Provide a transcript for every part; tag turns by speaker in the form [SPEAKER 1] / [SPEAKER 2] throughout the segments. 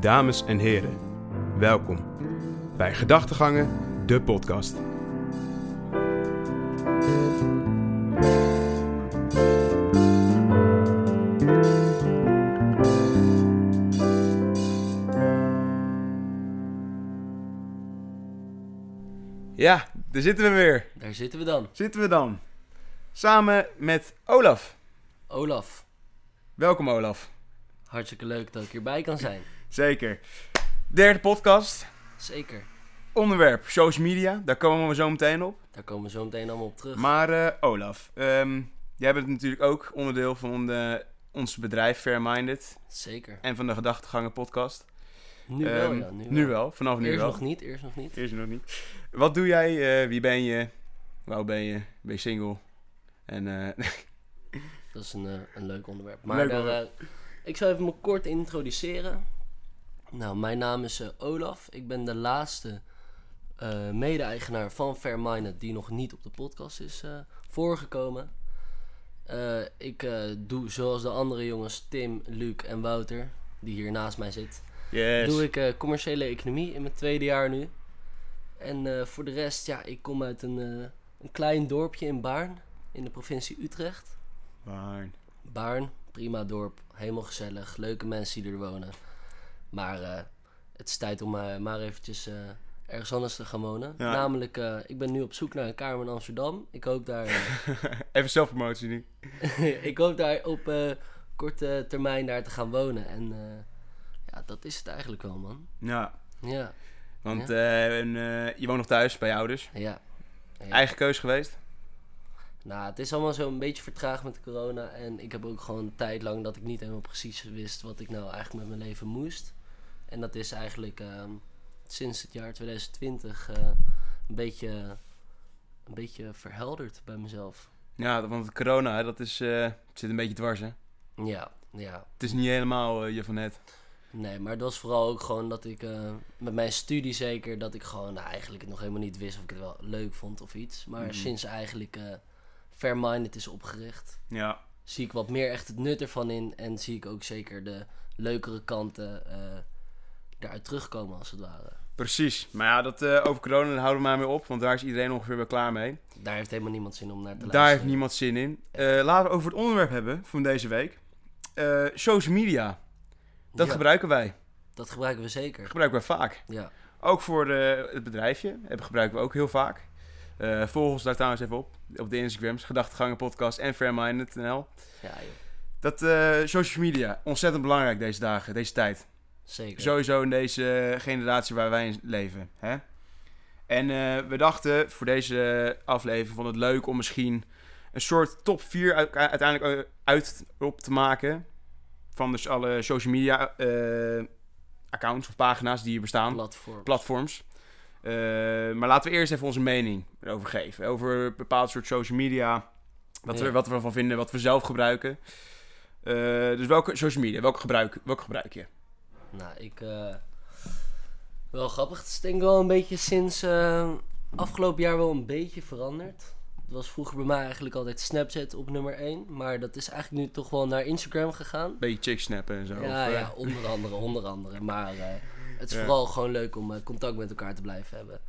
[SPEAKER 1] Dames en heren, welkom bij Gedachtegangen, de podcast. Ja, daar zitten we weer.
[SPEAKER 2] Daar zitten we dan.
[SPEAKER 1] Zitten we dan. Samen met Olaf.
[SPEAKER 2] Olaf,
[SPEAKER 1] Welkom Olaf.
[SPEAKER 2] hartstikke leuk dat ik hierbij kan zijn.
[SPEAKER 1] Zeker. Derde podcast.
[SPEAKER 2] Zeker.
[SPEAKER 1] Onderwerp social media, daar komen we zo meteen op.
[SPEAKER 2] Daar komen we zo meteen allemaal op terug.
[SPEAKER 1] Maar eh, Olaf, ehm, jij bent natuurlijk ook onderdeel van de, ons bedrijf Fair Minded
[SPEAKER 2] Zeker.
[SPEAKER 1] en van de Gedachtegangen podcast.
[SPEAKER 2] Nu wel,
[SPEAKER 1] Ehm,
[SPEAKER 2] ja. Nu,
[SPEAKER 1] nu
[SPEAKER 2] wel.
[SPEAKER 1] wel, vanaf nu
[SPEAKER 2] Eerst
[SPEAKER 1] wel.
[SPEAKER 2] nog niet, eerst nog niet.
[SPEAKER 1] Eerst nog niet. Wat doe jij? eh, wie ben je? Hoe oud ben je? Ben je single? En eh,
[SPEAKER 2] Dat is een, eh, een leuk onderwerp. Maar
[SPEAKER 1] Leuk
[SPEAKER 2] daar,
[SPEAKER 1] onderwerp.
[SPEAKER 2] eh, ik zal even me kort introduceren. Nou, mijn naam is eh, Olaf. Ik ben de laatste eh, mede-eigenaar van Fairminded die nog niet op de podcast is eh, voorgekomen. Eh, ik eh, doe zoals de andere jongens Tim, Luc en Wouter, die hier naast mij zit.
[SPEAKER 1] yes.
[SPEAKER 2] doe ik eh, commerciële economie in mijn tweede jaar nu. En eh, voor de rest, ja, ik kom uit een, eh, een klein dorpje in Baarn, in de provincie Utrecht.
[SPEAKER 1] Waar?
[SPEAKER 2] Baarn, prima dorp, helemaal gezellig, leuke mensen die er wonen. Maar eh, het is tijd om eh, maar eventjes eh, ergens anders te gaan wonen.
[SPEAKER 1] Ja.
[SPEAKER 2] Namelijk, eh, ik ben nu op zoek naar een kamer in Amsterdam. Ik hoop daar, eh,
[SPEAKER 1] Even zelfpromotie nu.
[SPEAKER 2] ik hoop daar op eh, korte termijn daar te gaan wonen. En eh, ja, dat is het eigenlijk wel, man.
[SPEAKER 1] Ja,
[SPEAKER 2] Ja,
[SPEAKER 1] want eh, en, eh, je woont nog thuis bij je ouders.
[SPEAKER 2] ja. Ja.
[SPEAKER 1] Eigen keus geweest?
[SPEAKER 2] Nou, het is allemaal zo een beetje vertraagd met corona. En ik heb ook gewoon een tijd lang dat ik niet helemaal precies wist wat ik nou eigenlijk met mijn leven moest. En dat is eigenlijk ehm, sinds het jaar 2020 eh, een, beetje, een beetje verhelderd bij mezelf.
[SPEAKER 1] Ja, want corona, hè, dat is, eh, het zit een beetje dwars hè.
[SPEAKER 2] Ja, ja.
[SPEAKER 1] Het is niet helemaal eh, je van het.
[SPEAKER 2] Nee, maar het was vooral ook gewoon dat ik eh, met mijn studie zeker, dat ik gewoon nou, eigenlijk het nog helemaal niet wist of ik het wel leuk vond of iets. Maar
[SPEAKER 1] Mhm.
[SPEAKER 2] sinds eigenlijk eh Fairminded is opgericht,
[SPEAKER 1] Ja,
[SPEAKER 2] zie ik wat meer echt het nut ervan in. En zie ik ook zeker de leukere kanten eh daaruit terugkomen, als het ware.
[SPEAKER 1] precies. Maar ja, dat, eh, over corona daar houden we maar mee op, want daar is iedereen ongeveer wel klaar mee.
[SPEAKER 2] Daar heeft helemaal niemand zin om naar te luisteren.
[SPEAKER 1] Daar heeft niemand zin in. Eh, laten we over het onderwerp hebben van deze week. Eh, social media, dat
[SPEAKER 2] Ja,
[SPEAKER 1] gebruiken wij.
[SPEAKER 2] dat gebruiken we zeker.
[SPEAKER 1] gebruiken wij vaak.
[SPEAKER 2] Ja,
[SPEAKER 1] Ook voor eh, het bedrijfje eh, gebruiken we ook heel vaak. Eh volg ons daar trouwens even op, op de Instagrams, Gedachtegangen Podcast en Fairminded.nl.
[SPEAKER 2] ja joh.
[SPEAKER 1] Dat eh, social media, ontzettend belangrijk deze dagen, deze tijd.
[SPEAKER 2] zeker.
[SPEAKER 1] Sowieso in deze generatie waar wij in leven. Hè? En eh, we dachten voor deze aflevering vond het leuk om misschien een soort top 4 uit- uiteindelijk eh, uit op te maken. Van dus alle social media eh, accounts of pagina's die hier bestaan.
[SPEAKER 2] Platform.
[SPEAKER 1] Platforms. Eh, maar laten we eerst even onze mening erover geven. Over een bepaald soort social media. Wat, we,
[SPEAKER 2] Ja.
[SPEAKER 1] wat we ervan vinden, wat we zelf gebruiken. Eh, dus welke social media, welke gebruik, welke gebruik je?
[SPEAKER 2] Nou, ik... eh, wel grappig. Het is denk ik wel een beetje sinds eh, afgelopen jaar wel een beetje veranderd. Het was vroeger bij mij eigenlijk altijd Snapchat op nummer 1. Maar dat is eigenlijk nu toch wel naar Instagram gegaan.
[SPEAKER 1] Beetje chick snappen en zo.
[SPEAKER 2] Ja,
[SPEAKER 1] of, eh,
[SPEAKER 2] ja, onder andere, onder andere. Maar eh, het is
[SPEAKER 1] Ja.
[SPEAKER 2] vooral gewoon leuk om eh, contact met elkaar te blijven hebben.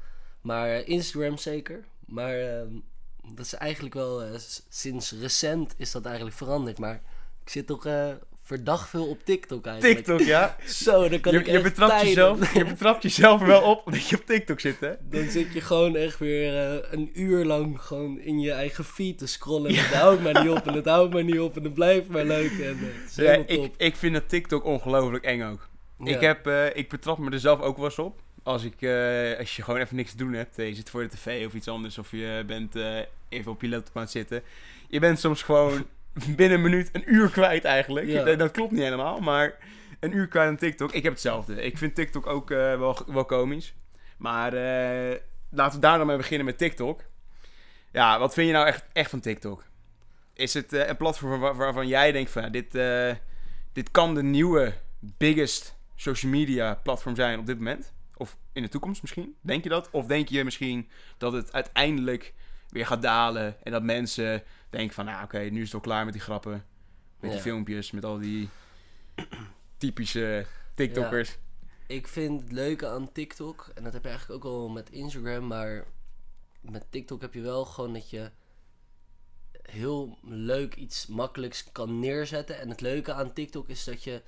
[SPEAKER 2] Maar eh, Instagram zeker. Maar ehm, dat is eigenlijk wel, eh, s- sinds recent is dat eigenlijk veranderd. Maar ik zit toch eh, verdacht veel op TikTok eigenlijk.
[SPEAKER 1] TikTok, ja.
[SPEAKER 2] Zo, dan kan
[SPEAKER 1] Je,
[SPEAKER 2] ik
[SPEAKER 1] je,
[SPEAKER 2] echt
[SPEAKER 1] betrapt
[SPEAKER 2] tijden-
[SPEAKER 1] jezelf, je betrapt jezelf er wel op dat je op TikTok zit, hè?
[SPEAKER 2] Dan zit je gewoon echt weer eh, een uur lang gewoon in je eigen feed te scrollen. En het houdt maar niet op en het houdt maar niet op en het blijft maar leuk. En eh, het is
[SPEAKER 1] Ja,
[SPEAKER 2] helemaal
[SPEAKER 1] ik,
[SPEAKER 2] top.
[SPEAKER 1] ik vind dat TikTok ongelooflijk eng ook.
[SPEAKER 2] Ja.
[SPEAKER 1] Ik, heb, eh, ik betrap me er zelf ook wel eens op. Als, ik, eh, als je gewoon even niks te doen hebt. eh, Je zit voor de tv of iets anders. Of je bent eh, even op je laptop aan het zitten. Je bent soms gewoon binnen een minuut een uur kwijt eigenlijk.
[SPEAKER 2] Ja.
[SPEAKER 1] Dat, dat klopt niet helemaal. Maar een uur kwijt aan TikTok. Ik heb hetzelfde. Ik vind TikTok ook eh, wel, wel komisch. Maar eh, laten we daar dan mee beginnen met TikTok. Ja, wat vind je nou echt, echt van TikTok? Is het eh, een platform waar- waarvan jij denkt van... ja, dit, eh, dit kan de nieuwe biggest social media platform zijn op dit moment? Of in de toekomst misschien? Denk je dat? Of denk je misschien dat het uiteindelijk weer gaat dalen... en dat mensen denken van... nou oké, nu is het wel klaar met die grappen. Met die
[SPEAKER 2] Ja.
[SPEAKER 1] filmpjes, met al die typische TikTokkers.
[SPEAKER 2] ik vind het leuke aan TikTok, en dat heb je eigenlijk ook al met Instagram, maar met TikTok heb je wel gewoon dat je heel leuk iets makkelijks kan neerzetten. En het leuke aan TikTok is dat je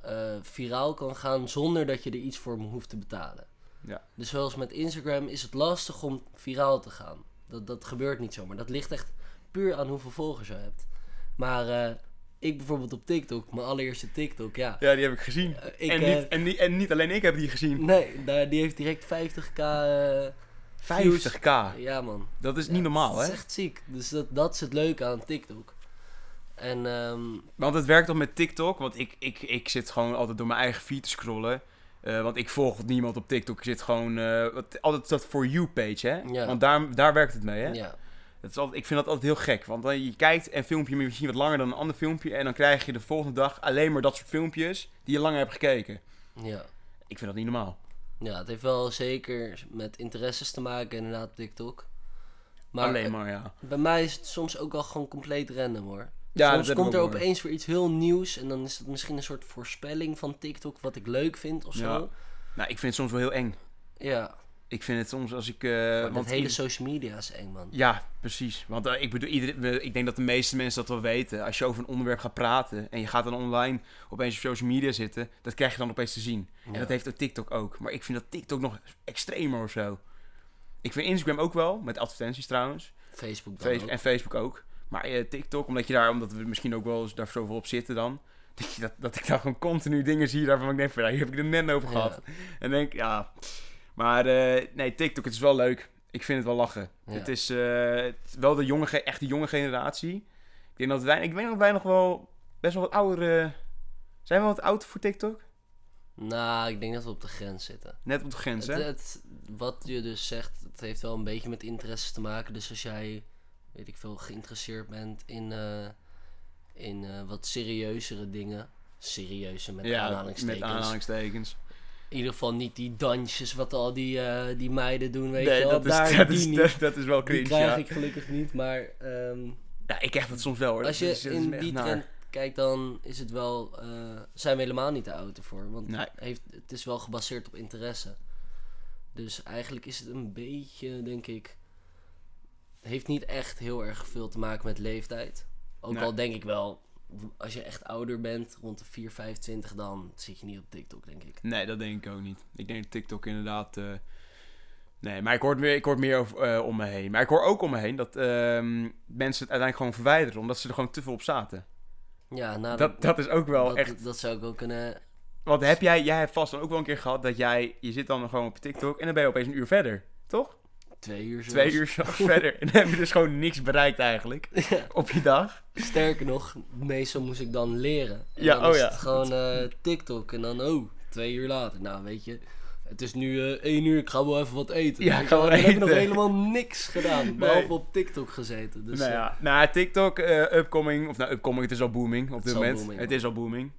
[SPEAKER 2] eh, viraal kan gaan zonder dat je er iets voor hoeft te betalen.
[SPEAKER 1] Ja.
[SPEAKER 2] Dus zoals met Instagram is het lastig om viraal te gaan. Dat, dat gebeurt niet zomaar. Dat ligt echt puur aan hoeveel volgers je hebt. Maar eh, ik bijvoorbeeld op TikTok, mijn allereerste TikTok, ja.
[SPEAKER 1] Ja, die heb ik gezien.
[SPEAKER 2] Eh, ik,
[SPEAKER 1] en,
[SPEAKER 2] eh,
[SPEAKER 1] niet, en, niet, en niet alleen ik heb die gezien.
[SPEAKER 2] Nee, daar, die heeft direct 50k eh, views.
[SPEAKER 1] 50k.
[SPEAKER 2] Ja man.
[SPEAKER 1] Dat is
[SPEAKER 2] Ja,
[SPEAKER 1] niet normaal,
[SPEAKER 2] Dat is
[SPEAKER 1] hè?
[SPEAKER 2] echt ziek. Dus dat, dat is het leuke aan TikTok. En ehm,
[SPEAKER 1] Want het werkt toch met TikTok? Want ik, ik, ik zit gewoon altijd door mijn eigen feed te scrollen. Eh, want ik volg niemand op TikTok. Ik zit gewoon... eh, wat, altijd dat For You-page, hè?
[SPEAKER 2] Ja.
[SPEAKER 1] Want daar, daar werkt het mee, hè?
[SPEAKER 2] ja,
[SPEAKER 1] Dat is altijd, ik vind dat altijd heel gek. Want dan je kijkt een filmpje misschien wat langer dan een ander filmpje. En dan krijg je de volgende dag alleen maar dat soort filmpjes die je langer hebt gekeken.
[SPEAKER 2] ja.
[SPEAKER 1] Ik vind dat niet normaal.
[SPEAKER 2] Ja, het heeft wel zeker met interesses te maken inderdaad op TikTok. Maar,
[SPEAKER 1] alleen maar, ja.
[SPEAKER 2] eh, bij mij is het soms ook al gewoon compleet random hoor.
[SPEAKER 1] Ja, dat
[SPEAKER 2] soms
[SPEAKER 1] heb
[SPEAKER 2] komt
[SPEAKER 1] ik
[SPEAKER 2] er
[SPEAKER 1] ook gehoord.
[SPEAKER 2] opeens weer iets heel nieuws en dan is dat misschien een soort voorspelling van TikTok wat ik leuk vind of zo.
[SPEAKER 1] Nou, ik vind het soms wel heel eng.
[SPEAKER 2] Ja,
[SPEAKER 1] Ik vind het soms als ik... eh,
[SPEAKER 2] maar dat
[SPEAKER 1] want
[SPEAKER 2] hele
[SPEAKER 1] ieder-
[SPEAKER 2] social media is eng man.
[SPEAKER 1] Ja, precies. Want eh, ik bedoel, iedereen, we- ik denk dat de meeste mensen dat wel weten. Als je over een onderwerp gaat praten en je gaat dan online opeens op social media zitten, dat krijg je dan opeens te zien. En
[SPEAKER 2] Ja.
[SPEAKER 1] dat heeft ook TikTok ook. Maar ik vind dat TikTok nog extremer of zo. Ik vind Instagram ook wel, met advertenties trouwens.
[SPEAKER 2] Facebook dan
[SPEAKER 1] Face-
[SPEAKER 2] ook.
[SPEAKER 1] en Facebook ook. Maar eh, TikTok, omdat je daar, omdat we misschien ook wel eens daar zoveel op zitten dan. Dat, je dat, dat ik daar gewoon continu dingen zie daarvan ik denk van, ja, hier heb ik het net over
[SPEAKER 2] Ja.
[SPEAKER 1] gehad. En denk, ja. Maar eh, nee, TikTok, het is wel leuk. Ik vind het wel lachen.
[SPEAKER 2] Ja.
[SPEAKER 1] Het is eh, het is wel de jonge, ge- echt de jonge generatie. Ik denk dat wij, ik weet nog dat wij nog wel best wel wat ouder eh, zijn. we wat oud voor TikTok?
[SPEAKER 2] Nou, ik denk dat we op de grens zitten.
[SPEAKER 1] Net op de grens,
[SPEAKER 2] Het-
[SPEAKER 1] hè?
[SPEAKER 2] het- wat je dus zegt, het heeft wel een beetje met interesses te maken. Dus als jij, weet ik veel, geïnteresseerd bent in, eh, in eh, wat serieuzere dingen. Serieuze met aanhalingstekens.
[SPEAKER 1] met aanhalingstekens.
[SPEAKER 2] In ieder geval niet die dansjes wat al die, eh, die meiden doen, weet je
[SPEAKER 1] Nee,
[SPEAKER 2] wel.
[SPEAKER 1] dat is,
[SPEAKER 2] Daar,
[SPEAKER 1] dat,
[SPEAKER 2] die
[SPEAKER 1] is,
[SPEAKER 2] niet.
[SPEAKER 1] dat, dat is wel
[SPEAKER 2] die
[SPEAKER 1] cringe,
[SPEAKER 2] krijg
[SPEAKER 1] ja.
[SPEAKER 2] ik gelukkig niet, maar ehm,
[SPEAKER 1] Ja, ik krijg dat soms wel, hoor.
[SPEAKER 2] als
[SPEAKER 1] Dat
[SPEAKER 2] je
[SPEAKER 1] is- dat is
[SPEAKER 2] in
[SPEAKER 1] echt
[SPEAKER 2] die
[SPEAKER 1] naar.
[SPEAKER 2] trend kijkt, dan is het wel, eh, zijn we helemaal niet te oud ervoor. Want
[SPEAKER 1] Nee.
[SPEAKER 2] heeft, het is wel gebaseerd op interesse. Dus eigenlijk is het een beetje, denk ik, heeft niet echt heel erg veel te maken met leeftijd. Ook
[SPEAKER 1] Nee.
[SPEAKER 2] al denk ik wel, w- als je echt ouder bent, rond de 4, 25, dan zit je niet op TikTok, denk ik.
[SPEAKER 1] Nee, dat denk ik ook niet. Ik denk dat TikTok inderdaad. eh, Nee, maar ik hoor meer, ik hoor meer over, eh, om me heen. Maar ik hoor ook om me heen dat ehm, mensen het uiteindelijk gewoon verwijderen. Omdat ze er gewoon te veel op zaten.
[SPEAKER 2] Ja, nou,
[SPEAKER 1] dat, dat is ook wel
[SPEAKER 2] dat,
[SPEAKER 1] echt.
[SPEAKER 2] dat zou ik ook kunnen.
[SPEAKER 1] Want heb jij, jij hebt vast dan ook wel een keer gehad dat jij. Je zit dan gewoon op TikTok en dan ben je opeens een uur verder. Toch?
[SPEAKER 2] Twee uur zelfs.
[SPEAKER 1] Twee uur zelfs verder. En dan heb je dus gewoon niks bereikt eigenlijk.
[SPEAKER 2] Ja.
[SPEAKER 1] Op je dag.
[SPEAKER 2] Sterker nog, meestal moest ik dan leren. En
[SPEAKER 1] Ja,
[SPEAKER 2] dan
[SPEAKER 1] oh
[SPEAKER 2] is
[SPEAKER 1] ja.
[SPEAKER 2] het gewoon eh, TikTok en dan, oh, twee uur later. Nou, weet je, het is nu eh één uur, ik ga wel even wat eten.
[SPEAKER 1] Ja,
[SPEAKER 2] Weet je
[SPEAKER 1] ga
[SPEAKER 2] wel,
[SPEAKER 1] wel
[SPEAKER 2] Dan heb ik nog
[SPEAKER 1] eten.
[SPEAKER 2] helemaal niks gedaan, behalve op Tiktok gezeten. Dus,
[SPEAKER 1] nou
[SPEAKER 2] eh,
[SPEAKER 1] ja, nou, TikTok, eh, upcoming, of nou, upcoming, het is al booming op
[SPEAKER 2] is
[SPEAKER 1] dit
[SPEAKER 2] al
[SPEAKER 1] moment.
[SPEAKER 2] booming,
[SPEAKER 1] het
[SPEAKER 2] ja.
[SPEAKER 1] is al booming.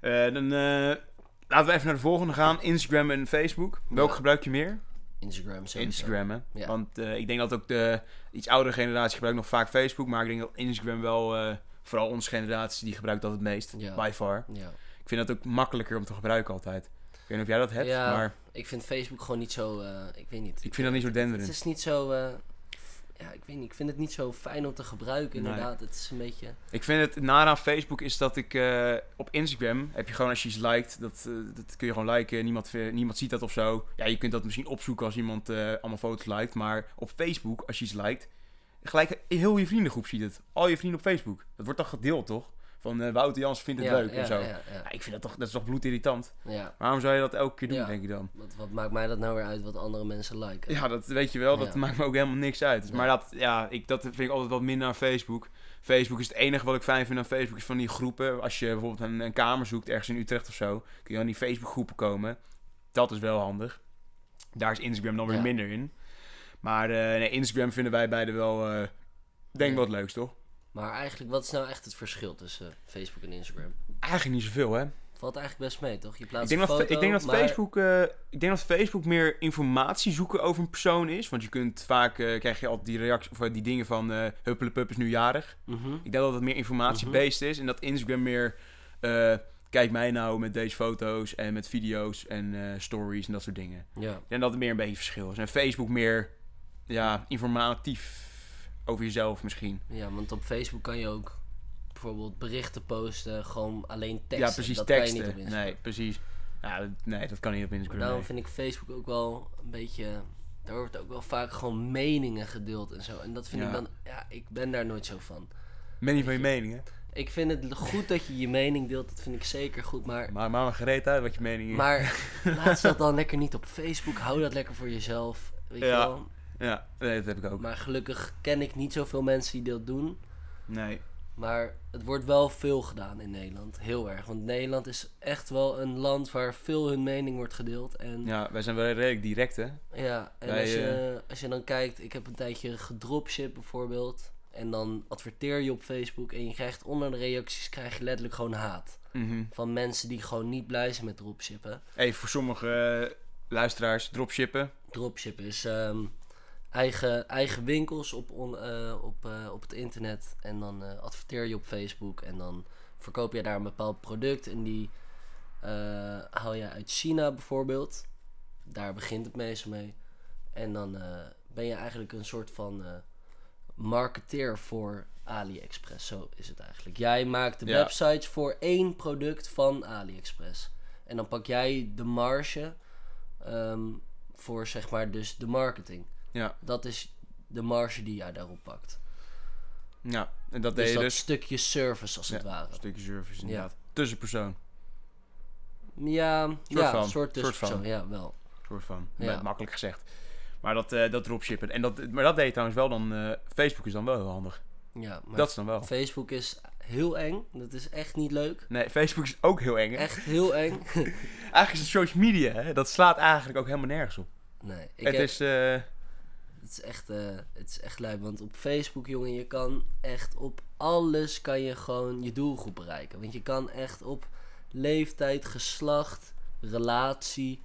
[SPEAKER 1] Eh, dan eh, laten we even naar de volgende gaan, Instagram en Facebook. Welke
[SPEAKER 2] Ja.
[SPEAKER 1] gebruik je meer?
[SPEAKER 2] Instagram sowieso.
[SPEAKER 1] Instagram, hè?
[SPEAKER 2] Ja.
[SPEAKER 1] Want eh, ik denk dat ook de iets oudere generatie gebruikt nog vaak Facebook, maar ik denk dat Instagram wel, eh, vooral onze generatie, die gebruikt dat het meest,
[SPEAKER 2] Ja.
[SPEAKER 1] by far.
[SPEAKER 2] Ja.
[SPEAKER 1] Ik vind dat ook makkelijker om te gebruiken altijd. Ik weet niet of jij dat hebt,
[SPEAKER 2] Ja.
[SPEAKER 1] maar
[SPEAKER 2] Ik vind Facebook gewoon niet zo, eh, ik weet niet.
[SPEAKER 1] ik vind dat niet zo
[SPEAKER 2] Het
[SPEAKER 1] denderend.
[SPEAKER 2] is niet zo, eh, f- ja, ik weet niet, ik vind het niet zo fijn om te gebruiken
[SPEAKER 1] Nee.
[SPEAKER 2] inderdaad. Het is een beetje,
[SPEAKER 1] Ik vind het naar aan Facebook is dat ik eh, op Instagram heb je gewoon als je iets liked, dat, eh, dat kun je gewoon liken. Niemand, eh, niemand ziet dat of zo. Ja, je kunt dat misschien opzoeken als iemand eh, allemaal foto's liked. Maar op Facebook, als je iets liked, gelijk heel je vriendengroep ziet het. Al je vrienden op Facebook. Dat wordt dan gedeeld, toch? Van eh, Wouter Jans vindt het
[SPEAKER 2] ja,
[SPEAKER 1] leuk
[SPEAKER 2] ja,
[SPEAKER 1] en zo.
[SPEAKER 2] Ja, ja,
[SPEAKER 1] Ja, ik vind dat toch, dat is toch bloedirritant.
[SPEAKER 2] ja.
[SPEAKER 1] Waarom zou je dat elke keer doen,
[SPEAKER 2] Ja.
[SPEAKER 1] denk ik dan?
[SPEAKER 2] Wat, wat maakt mij dat nou weer uit wat andere mensen liken?
[SPEAKER 1] Ja, dat weet je wel. Dat
[SPEAKER 2] Ja.
[SPEAKER 1] maakt me ook helemaal niks uit. Dus-
[SPEAKER 2] Ja.
[SPEAKER 1] Maar dat, ja, ik, dat vind ik altijd wat minder aan Facebook. Facebook is het enige wat ik fijn vind aan Facebook. Is van die groepen. Als je bijvoorbeeld een, een kamer zoekt ergens in Utrecht of zo. Kun je aan die Facebook groepen komen. Dat is wel handig. Daar is Instagram dan weer
[SPEAKER 2] Ja.
[SPEAKER 1] minder in. Maar eh, nee, Instagram vinden wij beiden wel... eh, denk
[SPEAKER 2] Ja.
[SPEAKER 1] wel het leukst, toch?
[SPEAKER 2] Maar eigenlijk, wat is nou echt het verschil tussen eh, Facebook en Instagram?
[SPEAKER 1] Eigenlijk niet zoveel, hè?
[SPEAKER 2] Valt eigenlijk best mee, toch? Je plaatst
[SPEAKER 1] Ik denk,
[SPEAKER 2] een
[SPEAKER 1] dat,
[SPEAKER 2] foto,
[SPEAKER 1] ik, denk dat
[SPEAKER 2] maar-
[SPEAKER 1] Facebook, eh, ik denk dat Facebook meer informatie zoeken over een persoon is. Want je kunt vaak, eh, krijg je altijd die, reactie, of, eh, die dingen van eh huppelepup is nu jarig.
[SPEAKER 2] Mhm.
[SPEAKER 1] Ik denk dat het meer informatie-based is en dat Instagram meer eh, kijk mij nou met deze foto's en met video's en eh, stories en dat soort dingen.
[SPEAKER 2] Ja.
[SPEAKER 1] En dat het meer een beetje verschil is. En Facebook meer ja, informatief over jezelf misschien.
[SPEAKER 2] ja, want op Facebook kan je ook bijvoorbeeld berichten posten, gewoon alleen teksten.
[SPEAKER 1] ja, precies
[SPEAKER 2] dat
[SPEAKER 1] teksten.
[SPEAKER 2] Kan je niet op Instagram.
[SPEAKER 1] nee, precies. Ja, dat- nee, dat kan niet op
[SPEAKER 2] Maar
[SPEAKER 1] Instagram.
[SPEAKER 2] daarom
[SPEAKER 1] nee.
[SPEAKER 2] vind ik Facebook ook wel een beetje. Daar wordt ook wel vaak gewoon meningen gedeeld en zo. En dat vind
[SPEAKER 1] Ja.
[SPEAKER 2] ik dan. Ja, ik ben daar nooit zo van.
[SPEAKER 1] Many van je meningen.
[SPEAKER 2] Ik vind het goed dat je je mening deelt, dat vind ik zeker goed. Maar,
[SPEAKER 1] Maar maak maar gereed uit wat je mening is.
[SPEAKER 2] maar laat dat dan lekker niet op Facebook. Hou dat lekker voor jezelf. Weet je
[SPEAKER 1] Ja.
[SPEAKER 2] wel.
[SPEAKER 1] Ja, nee, dat heb ik ook.
[SPEAKER 2] Maar gelukkig ken ik niet zoveel mensen die dat doen.
[SPEAKER 1] Nee.
[SPEAKER 2] Maar het wordt wel veel gedaan in Nederland. Heel erg. Want Nederland is echt wel een land waar veel hun mening wordt gedeeld. En ja,
[SPEAKER 1] Ja, wij zijn wel redelijk direct, hè?
[SPEAKER 2] en
[SPEAKER 1] Wij, eh,
[SPEAKER 2] als, je, als je dan kijkt, ik heb een tijdje gedropship bijvoorbeeld. En dan adverteer je op Facebook en je krijgt onder de reacties krijg je letterlijk gewoon haat.
[SPEAKER 1] Mhm.
[SPEAKER 2] Van mensen die gewoon niet blij zijn met dropshippen.
[SPEAKER 1] Even voor sommige eh, luisteraars, dropshippen.
[SPEAKER 2] Dropship is ehm, eigen, eigen winkels op, on, eh, op, eh, op het internet. En dan eh, adverteer je op Facebook. En dan verkoop je daar een bepaald product. En die eh, haal je uit China bijvoorbeeld. Daar begint het meestal mee. En dan eh, ben je eigenlijk een soort van eh, marketeer voor AliExpress. Zo is het eigenlijk. Jij maakt de
[SPEAKER 1] Ja.
[SPEAKER 2] websites voor één product van AliExpress. En dan pak jij de marge ehm, voor zeg maar dus de marketing.
[SPEAKER 1] Ja.
[SPEAKER 2] Dat is de marge die jij daarop pakt.
[SPEAKER 1] Ja, en dat
[SPEAKER 2] Dus
[SPEAKER 1] deed je
[SPEAKER 2] dat
[SPEAKER 1] dus.
[SPEAKER 2] stukje service als het
[SPEAKER 1] Ja,
[SPEAKER 2] ware.
[SPEAKER 1] Een stukje service, inderdaad. Tussenpersoon,
[SPEAKER 2] Ja, ja
[SPEAKER 1] van,
[SPEAKER 2] een soort
[SPEAKER 1] soort
[SPEAKER 2] tussenpersoon.
[SPEAKER 1] van.
[SPEAKER 2] Ja, wel.
[SPEAKER 1] soort van.
[SPEAKER 2] Ja.
[SPEAKER 1] Ma- Makkelijk gezegd. Maar dat, eh, dat dropshippen. En dat, maar dat deed je trouwens wel dan... eh, Facebook is dan wel heel handig.
[SPEAKER 2] Ja, maar
[SPEAKER 1] Dat is dan wel.
[SPEAKER 2] Facebook is heel eng. Dat is echt niet leuk.
[SPEAKER 1] Nee, Facebook is ook heel eng. hè?
[SPEAKER 2] Echt heel eng.
[SPEAKER 1] Eigenlijk is het social media, hè? dat slaat eigenlijk ook helemaal nergens op.
[SPEAKER 2] nee, ik
[SPEAKER 1] het
[SPEAKER 2] heb-
[SPEAKER 1] is... eh,
[SPEAKER 2] Het is echt, eh het is echt lui, want op Facebook, jongen, je kan echt op alles kan je gewoon je doelgroep bereiken. Want je kan echt op leeftijd, geslacht, relatie,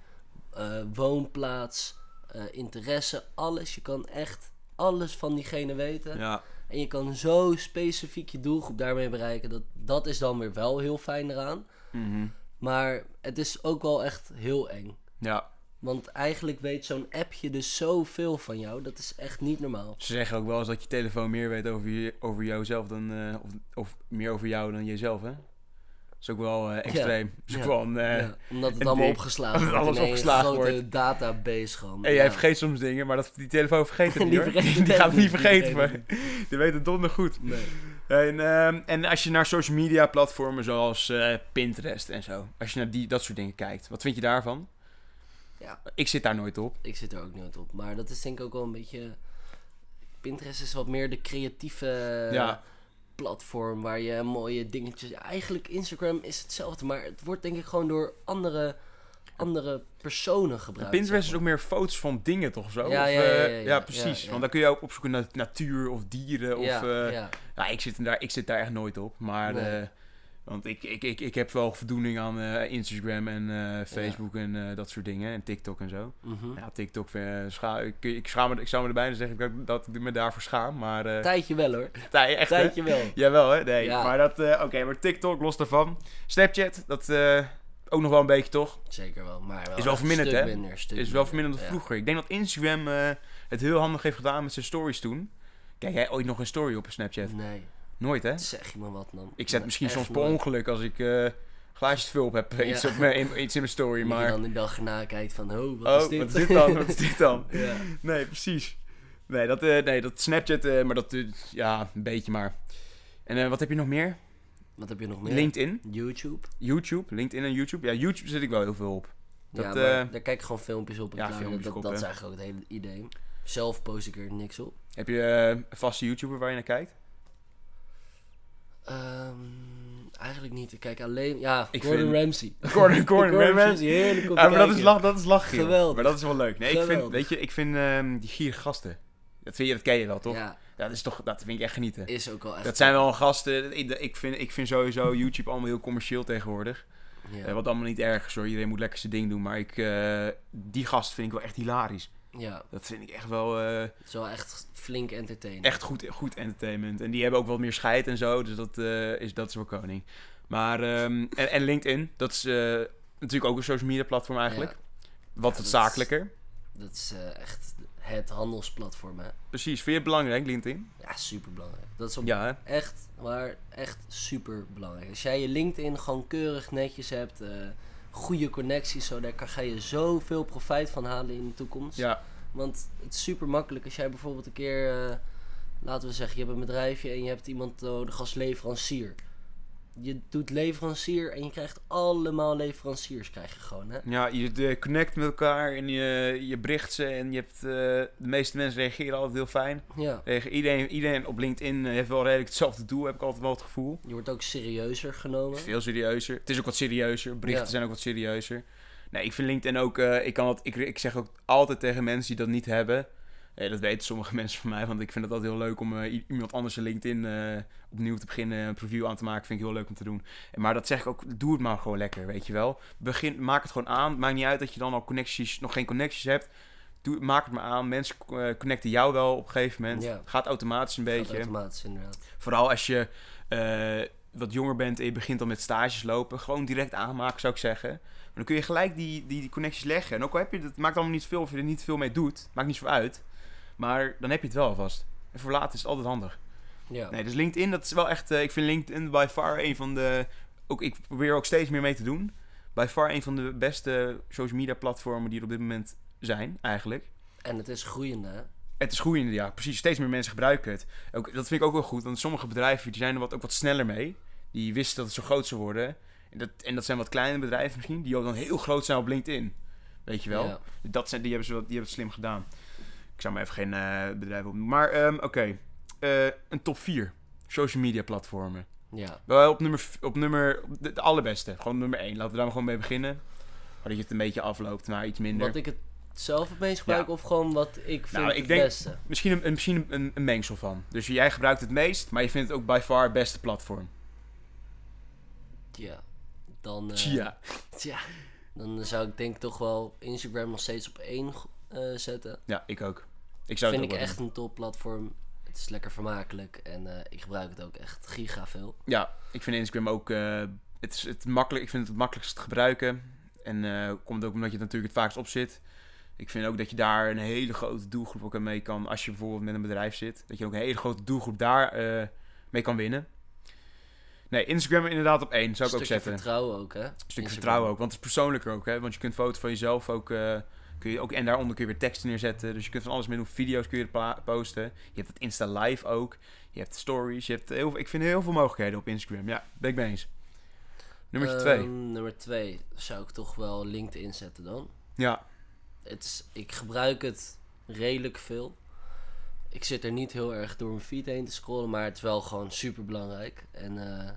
[SPEAKER 2] eh, woonplaats, eh, interesse, alles. Je kan echt alles van diegene weten.
[SPEAKER 1] ja,
[SPEAKER 2] En je kan zo specifiek je doelgroep daarmee bereiken. Dat, dat is dan weer wel heel fijn eraan.
[SPEAKER 1] mhm.
[SPEAKER 2] Maar het is ook wel echt heel eng.
[SPEAKER 1] ja,
[SPEAKER 2] Want eigenlijk weet zo'n appje dus zoveel van jou. Dat is echt niet normaal.
[SPEAKER 1] ze zeggen ook wel eens dat je telefoon meer weet over, je, over jouzelf dan... eh, of, of meer over jou dan jezelf, hè? Dat is ook wel eh, extreem. Dat is ook
[SPEAKER 2] Ja.
[SPEAKER 1] wel een, eh,
[SPEAKER 2] ja, omdat het
[SPEAKER 1] een
[SPEAKER 2] allemaal
[SPEAKER 1] ding.
[SPEAKER 2] opgeslagen
[SPEAKER 1] Omdat
[SPEAKER 2] wordt.
[SPEAKER 1] alles
[SPEAKER 2] in één
[SPEAKER 1] opgeslagen
[SPEAKER 2] grote
[SPEAKER 1] wordt.
[SPEAKER 2] database gewoon.
[SPEAKER 1] En
[SPEAKER 2] Ja.
[SPEAKER 1] jij vergeet soms dingen, maar dat, die telefoon vergeet het
[SPEAKER 2] Die
[SPEAKER 1] niet hoor.
[SPEAKER 2] vergeet
[SPEAKER 1] Die
[SPEAKER 2] het
[SPEAKER 1] gaat het niet
[SPEAKER 2] echt niet, die
[SPEAKER 1] vergeten, maar
[SPEAKER 2] vergeet
[SPEAKER 1] die weet het donder goed.
[SPEAKER 2] Nee.
[SPEAKER 1] En, ehm, en als je naar social media platformen zoals eh, Pinterest en zo, als je naar die, dat soort dingen kijkt, wat vind je daarvan?
[SPEAKER 2] Ja,
[SPEAKER 1] Ik zit daar nooit op.
[SPEAKER 2] ik zit er ook nooit op. Maar dat is denk ik ook wel een beetje... Pinterest is wat meer de creatieve
[SPEAKER 1] ja,
[SPEAKER 2] platform waar je mooie dingetjes... Eigenlijk Instagram is hetzelfde, maar het wordt denk ik gewoon door andere, andere personen gebruikt.
[SPEAKER 1] Pinterest is
[SPEAKER 2] zeg
[SPEAKER 1] ook meer foto's van dingen toch of zo?
[SPEAKER 2] Ja,
[SPEAKER 1] Of,
[SPEAKER 2] ja, ja, ja,
[SPEAKER 1] eh,
[SPEAKER 2] ja, ja,
[SPEAKER 1] precies.
[SPEAKER 2] ja.
[SPEAKER 1] Want dan kun je ook opzoeken naar natuur of dieren
[SPEAKER 2] maar.
[SPEAKER 1] of...
[SPEAKER 2] ja,
[SPEAKER 1] eh,
[SPEAKER 2] ja.
[SPEAKER 1] Ja, ik zit, daar, ik zit daar echt nooit op. Maar,
[SPEAKER 2] Nee.
[SPEAKER 1] eh, want ik, ik, ik, ik heb wel voldoening aan eh, Instagram en eh, Facebook en eh, dat soort dingen. En TikTok en zo.
[SPEAKER 2] mhm.
[SPEAKER 1] Ja, Tiktok, eh, scha ik, ik, schaam me, ik zou me er bijna zeggen dat ik, dat ik me daarvoor schaam. Maar eh
[SPEAKER 2] Tijdje wel hoor.
[SPEAKER 1] tij, echt, hè?
[SPEAKER 2] Tijdje wel.
[SPEAKER 1] Jawel, hè? Nee.
[SPEAKER 2] Ja.
[SPEAKER 1] Maar dat, eh, oké, maar TikTok, los daarvan. Snapchat, dat eh, ook nog wel een beetje, toch?
[SPEAKER 2] Zeker wel, maar wel
[SPEAKER 1] Is wel
[SPEAKER 2] een
[SPEAKER 1] verminderd,
[SPEAKER 2] stuk
[SPEAKER 1] hè?
[SPEAKER 2] Minder, stuk
[SPEAKER 1] Is wel
[SPEAKER 2] minder.
[SPEAKER 1] verminderd dan
[SPEAKER 2] Ja.
[SPEAKER 1] vroeger. Ik denk dat Instagram eh, het heel handig heeft gedaan met zijn stories toen. Kijk jij ooit nog een story op een Snapchat?
[SPEAKER 2] Nee,
[SPEAKER 1] Nooit, hè?
[SPEAKER 2] zeg je me wat dan.
[SPEAKER 1] Ik zet
[SPEAKER 2] Nee,
[SPEAKER 1] misschien
[SPEAKER 2] echt
[SPEAKER 1] soms per
[SPEAKER 2] nooit.
[SPEAKER 1] ongeluk als ik eh glaasjes te veel op heb, eh,
[SPEAKER 2] Ja.
[SPEAKER 1] iets, op mijn, in, iets in mijn story,
[SPEAKER 2] Maar...
[SPEAKER 1] maar...
[SPEAKER 2] dan de dag erna kijkt van, oh, wat
[SPEAKER 1] oh,
[SPEAKER 2] is dit?
[SPEAKER 1] wat is dit dan? Wat is dit dan?
[SPEAKER 2] ja.
[SPEAKER 1] Nee, precies. Nee, dat, eh, nee, dat Snapchat, eh, maar dat... eh, ja, een beetje maar. En eh, wat heb je nog meer?
[SPEAKER 2] Wat heb je nog meer?
[SPEAKER 1] LinkedIn,
[SPEAKER 2] YouTube.
[SPEAKER 1] YouTube, LinkedIn en YouTube. Ja, YouTube zit ik wel heel veel op. Dat,
[SPEAKER 2] ja, maar
[SPEAKER 1] eh,
[SPEAKER 2] daar kijk ik gewoon filmpjes op. en
[SPEAKER 1] ja,
[SPEAKER 2] klaar.
[SPEAKER 1] filmpjes
[SPEAKER 2] dat,
[SPEAKER 1] op,
[SPEAKER 2] dat
[SPEAKER 1] hè.
[SPEAKER 2] is eigenlijk ook het hele idee. Zelf post ik er niks op.
[SPEAKER 1] Heb je eh, een vaste YouTuber waar je naar kijkt?
[SPEAKER 2] Ehm, eigenlijk niet. Ik kijk alleen... Ja,
[SPEAKER 1] Ik
[SPEAKER 2] Gordon
[SPEAKER 1] vind-
[SPEAKER 2] Ramsay.
[SPEAKER 1] Gordon, Gordon Ramsay.
[SPEAKER 2] heerlijk om
[SPEAKER 1] Ja,
[SPEAKER 2] te
[SPEAKER 1] Ah, maar dat is,
[SPEAKER 2] kijken.
[SPEAKER 1] lach, dat is lachen. joh.
[SPEAKER 2] Geweldig.
[SPEAKER 1] Maar dat is wel leuk. Nee, ik vind,
[SPEAKER 2] Geweldig.
[SPEAKER 1] weet je, ik vind ehm, die gierige gasten. Dat, vind je, dat ken je wel, toch?
[SPEAKER 2] Ja,
[SPEAKER 1] Dat, is toch dat vind ik echt genieten.
[SPEAKER 2] is ook wel echt...
[SPEAKER 1] Dat zijn wel gasten. Ik, ik, vind, ik vind sowieso YouTube allemaal heel commercieel tegenwoordig.
[SPEAKER 2] Ja,
[SPEAKER 1] Eh, Wat allemaal niet erg is hoor. Iedereen moet lekker zijn ding doen. Maar ik, eh, die gast vind ik wel echt hilarisch.
[SPEAKER 2] ja,
[SPEAKER 1] Dat vind ik echt wel eh,
[SPEAKER 2] het is wel echt flink entertainen.
[SPEAKER 1] echt goed, goed entertainment. En die hebben ook wat meer scheid en zo. Dus dat, eh, is, dat is wel koning. Maar, ehm, en, en LinkedIn, dat is eh, natuurlijk ook een social media platform eigenlijk. Wat
[SPEAKER 2] Ja,
[SPEAKER 1] wat
[SPEAKER 2] dat-
[SPEAKER 1] zakelijker.
[SPEAKER 2] Dat is eh, echt het handelsplatform, hè.
[SPEAKER 1] Precies, vind je het belangrijk, LinkedIn?
[SPEAKER 2] Ja, superbelangrijk. Dat is op
[SPEAKER 1] Ja, hè?
[SPEAKER 2] echt, maar echt super belangrijk. Als jij je LinkedIn gewoon keurig netjes hebt, eh, goede connecties, zo, daar kan- ga je zoveel profijt van halen in de toekomst.
[SPEAKER 1] Ja,
[SPEAKER 2] Want het is super makkelijk als jij bijvoorbeeld een keer, eh, laten we zeggen, je hebt een bedrijfje en je hebt iemand nodig als leverancier. Je doet leverancier en je krijgt allemaal leveranciers, krijg je gewoon, hè?
[SPEAKER 1] ja je eh, connect met elkaar en je, je bericht ze. En je hebt, eh, de meeste mensen reageren altijd heel fijn.
[SPEAKER 2] Ja.
[SPEAKER 1] Reage- Iedereen, iedereen op LinkedIn eh, heeft wel redelijk hetzelfde doel, heb ik altijd wel het gevoel.
[SPEAKER 2] Je wordt ook serieuzer genomen.
[SPEAKER 1] Het is veel serieuzer. Het is ook wat serieuzer. Berichten
[SPEAKER 2] Ja.
[SPEAKER 1] zijn ook wat serieuzer. Nee, ik vind LinkedIn ook... eh, ik, kan dat, ik, ik zeg ook altijd tegen mensen die dat niet hebben... Eh, dat weten sommige mensen van mij, want ik vind het altijd heel leuk om eh, i- iemand anders een LinkedIn eh, opnieuw te beginnen, een preview aan te maken. Vind ik heel leuk om te doen. En Maar dat zeg ik ook, doe het maar gewoon lekker, weet je wel. Begin, maak het gewoon aan. Maakt niet uit dat je dan al connecties, nog geen connecties hebt. Doe, maak het maar aan. Mensen eh, connecten jou wel op een gegeven moment.
[SPEAKER 2] Ja.
[SPEAKER 1] Gaat automatisch een
[SPEAKER 2] Dat
[SPEAKER 1] beetje.
[SPEAKER 2] automatisch inderdaad.
[SPEAKER 1] Vooral als je eh, wat jonger bent en je begint al met stages lopen. Gewoon direct aanmaken, zou ik zeggen. Maar dan kun je gelijk die, die, die connecties leggen. En ook al heb je, dat maakt allemaal niet veel of je er niet veel mee doet. Maakt niet zo uit. Maar dan heb je het wel alvast. En voor later is het altijd handig.
[SPEAKER 2] Ja.
[SPEAKER 1] Nee, dus LinkedIn, dat is wel echt... eh, ik vind LinkedIn by far een van de... Ook, ik probeer ook steeds meer mee te doen. By far een van de beste social media platformen die er op dit moment zijn, eigenlijk.
[SPEAKER 2] En het is groeiende, hè?
[SPEAKER 1] Het is groeiende, ja. Precies, steeds meer mensen gebruiken het. Ook, dat vind ik ook wel goed, want sommige bedrijven die zijn er wat, ook wat sneller mee. Die wisten dat het zo groot zou worden. En dat, en dat zijn wat kleine bedrijven misschien, die ook dan heel groot zijn op LinkedIn. Weet je wel?
[SPEAKER 2] Ja.
[SPEAKER 1] Dat zijn, die, hebben ze wel, die hebben het slim gedaan. Ik zou maar even geen eh bedrijven opnoemen. Maar ehm, oké, Eh, een top 4 social media platformen.
[SPEAKER 2] ja.
[SPEAKER 1] Wel op nummer, v- op nummer op de, de allerbeste. Gewoon nummer 1. Laten we daar maar gewoon mee beginnen. Maar dat je het een beetje afloopt naar iets minder.
[SPEAKER 2] Wat ik het zelf het meest gebruik of gewoon wat ik vind
[SPEAKER 1] Nou, ik
[SPEAKER 2] het
[SPEAKER 1] denk-
[SPEAKER 2] beste?
[SPEAKER 1] Misschien, een, een- misschien een, een mengsel van. Dus jij gebruikt het meest, maar je vindt het ook by far het beste platform.
[SPEAKER 2] Ja. Dan, eh,
[SPEAKER 1] Chia.
[SPEAKER 2] tja. Dan zou ik denk toch wel Instagram nog steeds op één eh, zetten.
[SPEAKER 1] Ja, ik ook. Ik zou het
[SPEAKER 2] vind ik
[SPEAKER 1] ook wel
[SPEAKER 2] echt een topplatform. Het is lekker vermakelijk en eh, ik gebruik het ook echt giga veel.
[SPEAKER 1] doen. Ja, ik vind Instagram ook... eh, het is het makkelijk, ik vind het het makkelijkst te gebruiken. En eh komt ook omdat je er natuurlijk het vaakst op zit. Ik vind ook dat je daar een hele grote doelgroep ook aan mee kan. Als je bijvoorbeeld met een bedrijf zit. Dat je ook een hele grote doelgroep daar eh, mee kan winnen. Nee, Instagram inderdaad op één. Zou ik ook
[SPEAKER 2] Stukje
[SPEAKER 1] zetten.
[SPEAKER 2] vertrouwen ook, hè?
[SPEAKER 1] Een stukje
[SPEAKER 2] Instagram.
[SPEAKER 1] vertrouwen ook. Want het is persoonlijker ook, hè? Want je kunt foto's van jezelf ook, eh, kun je ook... En daaronder kun je weer teksten neerzetten. Dus je kunt van alles mee doen. Video's kun je er pla- posten. Je hebt het Insta Live ook. Je hebt stories. Je hebt heel, veel- ik vind heel veel mogelijkheden op Instagram. Ja, ben ik mee eens. Nummer
[SPEAKER 2] Ehm,
[SPEAKER 1] twee.
[SPEAKER 2] Nummer twee zou ik toch wel LinkedIn zetten dan.
[SPEAKER 1] Ja,
[SPEAKER 2] Het is, ik gebruik het redelijk veel. Ik zit er niet heel erg door mijn feed heen te scrollen, maar het is wel gewoon super belangrijk. En eh,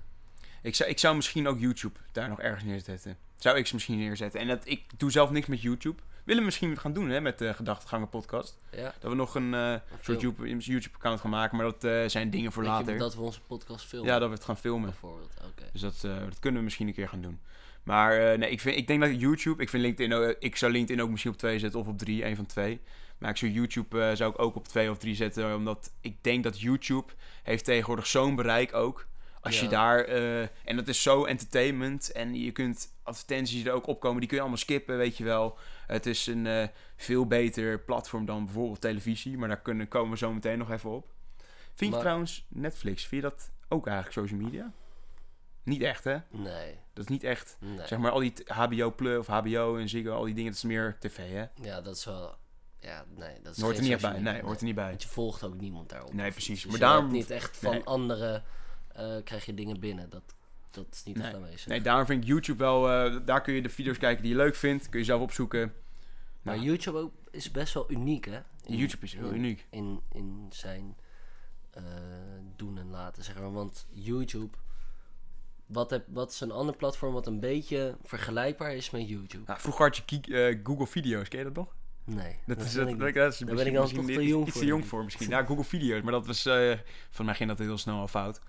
[SPEAKER 1] ik zou, ik zou misschien ook YouTube daar nog ergens neerzetten. Zou ik ze misschien neerzetten. En dat, ik doe zelf niks met YouTube. Willen we misschien gaan doen, hè? Met de Gedachtegangen podcast.
[SPEAKER 2] ja,
[SPEAKER 1] Dat we nog een eh,
[SPEAKER 2] een
[SPEAKER 1] soort
[SPEAKER 2] film.
[SPEAKER 1] YouTube- YouTube-account gaan maken. Maar dat eh, zijn dingen voor
[SPEAKER 2] Weet je
[SPEAKER 1] later.
[SPEAKER 2] Dat we onze podcast filmen.
[SPEAKER 1] Ja, dat we het gaan filmen.
[SPEAKER 2] bijvoorbeeld. Oké.
[SPEAKER 1] Dus dat, eh, dat kunnen we misschien een keer gaan doen. Maar eh, nee, ik, vind, ik denk dat YouTube... Ik, vind LinkedIn, ook- ik zou LinkedIn ook misschien op 2 zetten of op 3, een van twee. Maar ik zou YouTube eh, zou ik ook op 2 of 3 zetten. Omdat ik denk dat YouTube heeft tegenwoordig zo'n bereik ook. Als je
[SPEAKER 2] Ja.
[SPEAKER 1] daar... eh, en dat is zo entertainment. En je kunt advertenties die er ook opkomen. Die kun je allemaal skippen, weet je wel. Het is een eh, veel beter platform dan bijvoorbeeld televisie. Maar daar kunnen, komen we zo meteen nog even op. Vind
[SPEAKER 2] Maar-
[SPEAKER 1] je trouwens Netflix, vind je dat ook eigenlijk social media? Niet echt, hè?
[SPEAKER 2] Nee,
[SPEAKER 1] Dat is niet echt,
[SPEAKER 2] nee.
[SPEAKER 1] zeg maar, al die t- HBO Plus of HBO en Ziggo, al die dingen, dat is meer tv, hè?
[SPEAKER 2] Ja, dat is wel... Ja, nee. Dat
[SPEAKER 1] Dat
[SPEAKER 2] is
[SPEAKER 1] hoort er
[SPEAKER 2] geen
[SPEAKER 1] niet echt
[SPEAKER 2] social
[SPEAKER 1] bij.
[SPEAKER 2] media,
[SPEAKER 1] Nee, hoort er niet bij.
[SPEAKER 2] Want je volgt ook niemand daarop.
[SPEAKER 1] Nee,
[SPEAKER 2] of
[SPEAKER 1] precies.
[SPEAKER 2] iets. Dus
[SPEAKER 1] Maar
[SPEAKER 2] je hebt
[SPEAKER 1] daarom-
[SPEAKER 2] niet echt van
[SPEAKER 1] nee.
[SPEAKER 2] anderen eh, krijg je dingen binnen. Dat, dat is niet
[SPEAKER 1] Nee.
[SPEAKER 2] echt aanwezig.
[SPEAKER 1] Nee, daarom vind ik YouTube wel, eh, daar kun je de video's kijken die je leuk vindt, kun je zelf opzoeken.
[SPEAKER 2] maar
[SPEAKER 1] Ja.
[SPEAKER 2] YouTube ook is best wel uniek, hè? In-
[SPEAKER 1] nou. YouTube is heel
[SPEAKER 2] in-
[SPEAKER 1] uniek.
[SPEAKER 2] in, in zijn eh, doen en laten, zeg maar. Want YouTube, wat, heb, wat is een ander platform wat een beetje vergelijkbaar is met YouTube?
[SPEAKER 1] Nou, vroeger had je Ki- eh, Google Video's, ken je dat nog?
[SPEAKER 2] Nee.
[SPEAKER 1] Dat is,
[SPEAKER 2] ken
[SPEAKER 1] dat,
[SPEAKER 2] ik
[SPEAKER 1] dat,
[SPEAKER 2] niet.
[SPEAKER 1] dat is
[SPEAKER 2] Daar ben
[SPEAKER 1] misschien-
[SPEAKER 2] ik dan
[SPEAKER 1] misschien
[SPEAKER 2] toch te
[SPEAKER 1] iets-
[SPEAKER 2] jong
[SPEAKER 1] iets te
[SPEAKER 2] voor,
[SPEAKER 1] jong
[SPEAKER 2] denk ik.
[SPEAKER 1] voor misschien. Ja, Google Video's, maar dat was... eh volgens mij ging dat heel snel al fout.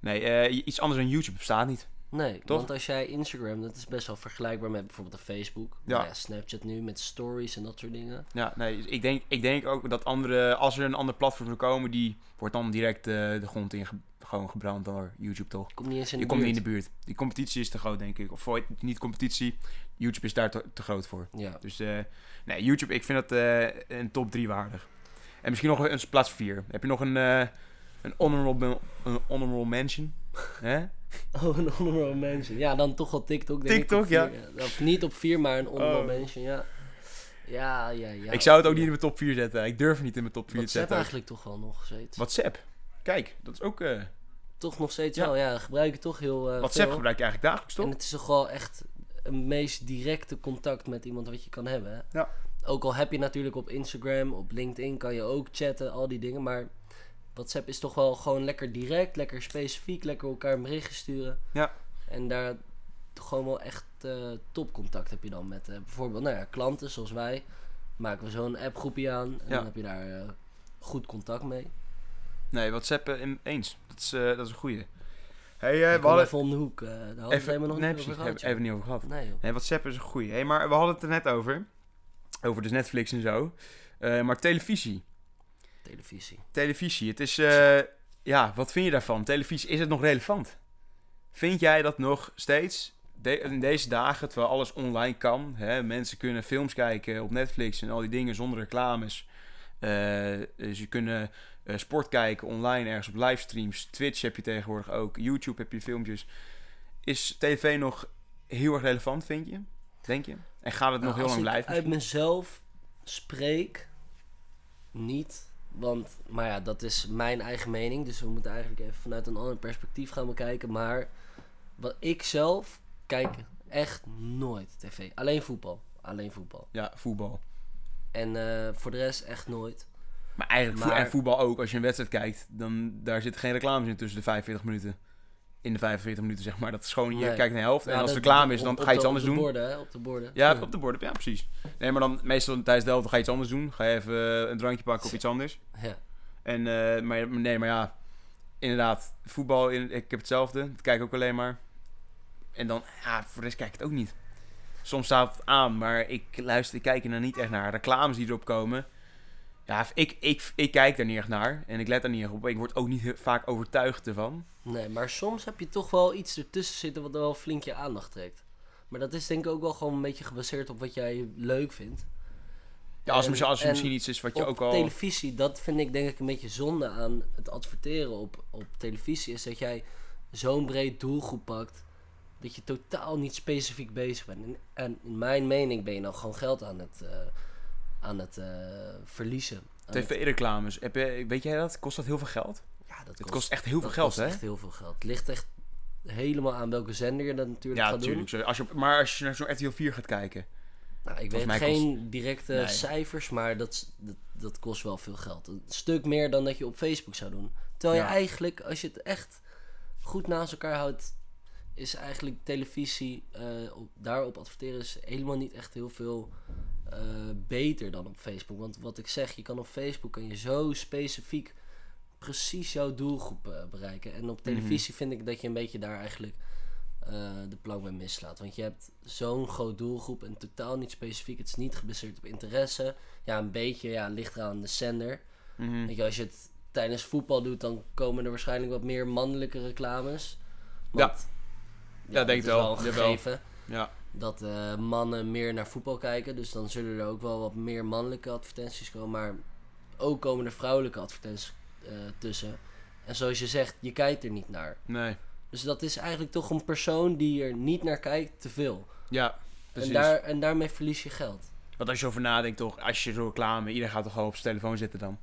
[SPEAKER 1] Nee, eh, iets anders dan YouTube bestaat niet.
[SPEAKER 2] Nee,
[SPEAKER 1] Toch?
[SPEAKER 2] want als jij Instagram, dat is best wel vergelijkbaar met bijvoorbeeld een Facebook.
[SPEAKER 1] Ja.
[SPEAKER 2] Nou ja, Snapchat nu met stories en dat soort dingen.
[SPEAKER 1] Ja, nee, dus ik denk, ik denk ook dat andere, als er een ander platform zou komen, die wordt dan direct eh, de grond in ge- gewoon gebrand door YouTube toch?
[SPEAKER 2] Komt niet eens in
[SPEAKER 1] Je
[SPEAKER 2] de
[SPEAKER 1] komt niet in
[SPEAKER 2] buurt.
[SPEAKER 1] de buurt. Die competitie is te groot, denk ik. Of voor, niet competitie, YouTube is daar te, te groot voor.
[SPEAKER 2] Ja,
[SPEAKER 1] Dus eh, nee, YouTube, ik vind dat eh, een top 3 waardig. En misschien nog een plaats 4. Heb je nog een, eh, een, honorable, een honorable mention? Hè?
[SPEAKER 2] Oh, een honorable mention. Ja, dan toch wel TikTok. Denk ik,
[SPEAKER 1] TikTok,
[SPEAKER 2] op
[SPEAKER 1] ja.
[SPEAKER 2] vier. Of niet op vier, maar een honorable
[SPEAKER 1] Oh.
[SPEAKER 2] mention, ja. Ja, ja, ja.
[SPEAKER 1] ik zou het ook niet in mijn top 4 zetten. Ik durf het niet in mijn top 4 te
[SPEAKER 2] WhatsApp
[SPEAKER 1] zetten.
[SPEAKER 2] eigenlijk toch wel nog steeds.
[SPEAKER 1] WhatsApp. Kijk, dat is ook... eh,
[SPEAKER 2] Toch nog steeds
[SPEAKER 1] Ja.
[SPEAKER 2] wel, ja. Gebruik het toch heel eh,
[SPEAKER 1] WhatsApp
[SPEAKER 2] veel.
[SPEAKER 1] gebruik je eigenlijk dagelijks, toch?
[SPEAKER 2] En het is toch wel echt een meest directe contact met iemand wat je kan hebben. hè?
[SPEAKER 1] Ja.
[SPEAKER 2] Ook al heb je natuurlijk op Instagram, op LinkedIn kan je ook chatten, al die dingen. Maar WhatsApp is toch wel gewoon lekker direct, lekker specifiek, lekker elkaar een berichtje sturen.
[SPEAKER 1] Ja.
[SPEAKER 2] En daar toch gewoon wel echt eh, topcontact heb je dan met eh, bijvoorbeeld nou ja, klanten zoals wij. Maken we zo'n appgroepje aan
[SPEAKER 1] Ja.
[SPEAKER 2] en
[SPEAKER 1] Eh,
[SPEAKER 2] dan heb je daar eh, goed contact mee.
[SPEAKER 1] Nee, WhatsApp eh, in- eens. Dat is, eh, dat is een goeie. Hey,
[SPEAKER 2] Ik
[SPEAKER 1] eh, we
[SPEAKER 2] kom
[SPEAKER 1] hadden...
[SPEAKER 2] even om de hoek, eh, daar hadden we het helemaal nog
[SPEAKER 1] nee,
[SPEAKER 2] niet over
[SPEAKER 1] precies.
[SPEAKER 2] gehad.
[SPEAKER 1] Hebben hebben
[SPEAKER 2] joh.
[SPEAKER 1] we niet over gehad.
[SPEAKER 2] Nee joh.
[SPEAKER 1] Nee, WhatsApp is een goeie. Hey, maar we hadden het er net over. Over dus Netflix en zo. Eh, maar televisie.
[SPEAKER 2] televisie.
[SPEAKER 1] Televisie. Het is... eh, ja, wat vind je daarvan? Televisie, is het nog relevant? Vind jij dat nog steeds... de- in deze dagen, terwijl alles online kan. Hè, mensen kunnen films kijken op Netflix en al die dingen zonder reclames. Eh, ze kunnen eh, sport kijken online ergens op livestreams. Twitch heb je tegenwoordig ook. YouTube heb je filmpjes. Is tv nog heel erg relevant, vind je? Denk je? En gaat het nog
[SPEAKER 2] Nou,
[SPEAKER 1] heel lang
[SPEAKER 2] als ik
[SPEAKER 1] blijven?
[SPEAKER 2] uit
[SPEAKER 1] misschien?
[SPEAKER 2] mezelf spreek, niet. Want, maar ja, dat is mijn eigen mening. Dus we moeten eigenlijk even vanuit een ander perspectief gaan bekijken. Maar wat ik zelf kijk echt nooit tv. Alleen voetbal. Alleen voetbal.
[SPEAKER 1] Ja, voetbal.
[SPEAKER 2] En eh, voor de rest echt nooit.
[SPEAKER 1] Maar eigenlijk vo-
[SPEAKER 2] Maar-
[SPEAKER 1] en voetbal ook. Als je een wedstrijd kijkt, dan daar zitten geen reclames in tussen de 45 minuten. In de 45 minuten, zeg maar. Dat is gewoon, je
[SPEAKER 2] Nee.
[SPEAKER 1] kijkt naar de helft.
[SPEAKER 2] Ja,
[SPEAKER 1] en als
[SPEAKER 2] Nou, dat-
[SPEAKER 1] er reclame is,
[SPEAKER 2] op-
[SPEAKER 1] dan
[SPEAKER 2] op
[SPEAKER 1] ga je iets
[SPEAKER 2] de-
[SPEAKER 1] anders
[SPEAKER 2] op de
[SPEAKER 1] doen.
[SPEAKER 2] Borden, hè? Op de borden.
[SPEAKER 1] Ja, op de borden. Ja, precies. Nee, maar dan meestal tijdens de helft ga je iets anders doen. Ga je even eh, een drankje pakken of iets anders.
[SPEAKER 2] Ja.
[SPEAKER 1] En, eh, maar, nee, maar ja. Inderdaad, voetbal, in, ik heb hetzelfde. Dat kijk ik ook alleen maar. En dan, ja, voor de rest kijk ik het ook niet. Soms staat het aan, maar ik luister, ik kijk er nou niet echt naar. Reclames die erop komen. Ja, ik, ik, ik kijk daar niet echt naar. En ik let daar niet echt op. Ik word ook niet heel vaak overtuigd ervan.
[SPEAKER 2] Nee, maar soms heb je toch wel iets ertussen zitten wat wel flink je aandacht trekt. Maar dat is denk ik ook wel gewoon een beetje gebaseerd op wat jij leuk vindt.
[SPEAKER 1] Ja, als,
[SPEAKER 2] En-
[SPEAKER 1] er- als er
[SPEAKER 2] en
[SPEAKER 1] misschien iets is wat je
[SPEAKER 2] op
[SPEAKER 1] ook al...
[SPEAKER 2] televisie, dat vind ik denk ik een beetje zonde aan het adverteren op, op televisie, is dat jij zo'n breed doelgroep pakt dat je totaal niet specifiek bezig bent. En, en in mijn mening ben je nou gewoon geld aan het, eh, aan het eh, verliezen. Aan het-
[SPEAKER 1] TV-reclames. Heb je- Weet jij dat? Kost dat heel veel geld?
[SPEAKER 2] ja, dat kost,
[SPEAKER 1] Het kost echt heel veel
[SPEAKER 2] dat
[SPEAKER 1] geld,
[SPEAKER 2] kost
[SPEAKER 1] hè?
[SPEAKER 2] echt heel veel geld. Ligt echt helemaal aan welke zender je dat natuurlijk
[SPEAKER 1] Ja,
[SPEAKER 2] gaat
[SPEAKER 1] natuurlijk. Zo, Als je, maar als je naar zo'n RTL 4 gaat kijken...
[SPEAKER 2] doen. Nou, ik weet
[SPEAKER 1] mij
[SPEAKER 2] geen directe
[SPEAKER 1] Nee.
[SPEAKER 2] cijfers, maar dat, s- dat, dat kost wel veel geld. Een stuk meer dan dat je op Facebook zou doen. Terwijl
[SPEAKER 1] Ja.
[SPEAKER 2] je eigenlijk, als je het echt goed naast elkaar houdt, is eigenlijk televisie, eh, op, daarop adverteren is helemaal niet echt heel veel eh, beter dan op Facebook. Want wat ik zeg, je kan op Facebook kan je zo specifiek precies jouw doelgroep eh, bereiken. En op
[SPEAKER 1] Mhm.
[SPEAKER 2] televisie vind ik dat je een beetje daar eigenlijk eh, de plank bij mislaat. Want je hebt zo'n groot doelgroep en totaal niet specifiek. Het is niet gebaseerd op interesse. Ja, een beetje, ja, ligt eraan de zender.
[SPEAKER 1] Mhm.
[SPEAKER 2] Weet je, als je het tijdens voetbal doet, dan komen er waarschijnlijk wat meer mannelijke reclames. Want,
[SPEAKER 1] Ja, denk
[SPEAKER 2] het
[SPEAKER 1] ik
[SPEAKER 2] is
[SPEAKER 1] wel.
[SPEAKER 2] wel een
[SPEAKER 1] Jawel.
[SPEAKER 2] gegeven
[SPEAKER 1] Ja.
[SPEAKER 2] dat eh, mannen meer naar voetbal kijken. Dus dan zullen er ook wel wat meer mannelijke advertenties komen. Maar ook komen er vrouwelijke advertenties eh, tussen. En zoals je zegt, je kijkt er niet naar.
[SPEAKER 1] Nee.
[SPEAKER 2] Dus dat is eigenlijk toch een persoon die er niet naar kijkt te veel.
[SPEAKER 1] Ja,
[SPEAKER 2] En,
[SPEAKER 1] precies.
[SPEAKER 2] daar, en daarmee verlies je geld.
[SPEAKER 1] Want als je over nadenkt, toch, als je zo reclame, iedereen gaat toch gewoon op zijn telefoon zitten dan?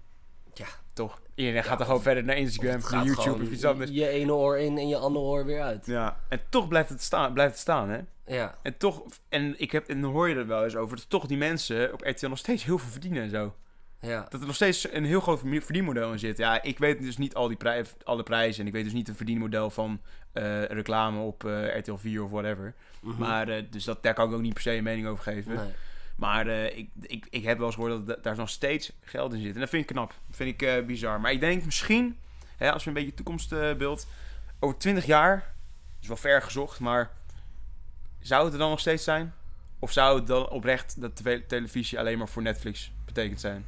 [SPEAKER 2] Ja.
[SPEAKER 1] Toch? Iedereen gaat
[SPEAKER 2] Ja,
[SPEAKER 1] toch gewoon verder naar
[SPEAKER 2] Of
[SPEAKER 1] Instagram,
[SPEAKER 2] het
[SPEAKER 1] naar
[SPEAKER 2] gaat
[SPEAKER 1] YouTube
[SPEAKER 2] gewoon
[SPEAKER 1] of iets anders.
[SPEAKER 2] Je ene oor in en je andere oor weer uit.
[SPEAKER 1] Ja. En toch blijft het staan, blijft het staan hè?
[SPEAKER 2] Ja,
[SPEAKER 1] En toch, en ik heb, en dan hoor je er wel eens over, dat toch die mensen op RTL nog steeds heel veel verdienen en zo.
[SPEAKER 2] ja.
[SPEAKER 1] Dat er nog steeds een heel groot vermi- verdienmodel in zit. Ja, ik weet dus niet al die prij- alle prijzen en ik weet dus niet het verdienmodel van eh, reclame op eh, RTL 4 of whatever.
[SPEAKER 2] Mhm.
[SPEAKER 1] Maar, eh, dus dat, daar kan ik ook niet per se een mening over geven.
[SPEAKER 2] Nee.
[SPEAKER 1] Maar eh, ik, ik, ik heb wel eens gehoord dat da- daar nog steeds geld in zit. En dat vind ik knap. Dat vind ik eh, bizar. Maar ik denk misschien, hè, als we een beetje toekomstbeeld, over 20 jaar is wel ver gezocht, maar zou het er dan nog steeds zijn? Of zou het dan oprecht dat tv- televisie alleen maar voor Netflix betekend zijn?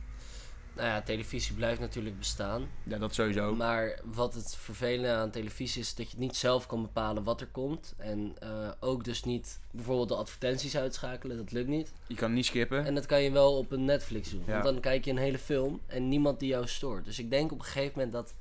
[SPEAKER 2] Nou ja, televisie blijft natuurlijk bestaan.
[SPEAKER 1] Ja, dat sowieso.
[SPEAKER 2] Maar wat het vervelende aan televisie is dat je niet zelf kan bepalen wat er komt. En eh, ook dus niet bijvoorbeeld de advertenties uitschakelen, dat lukt niet.
[SPEAKER 1] Je kan niet skippen.
[SPEAKER 2] En dat kan je wel op een Netflix doen.
[SPEAKER 1] Ja.
[SPEAKER 2] Want dan kijk je een hele film en niemand die jou stoort. Dus ik denk op een gegeven moment dat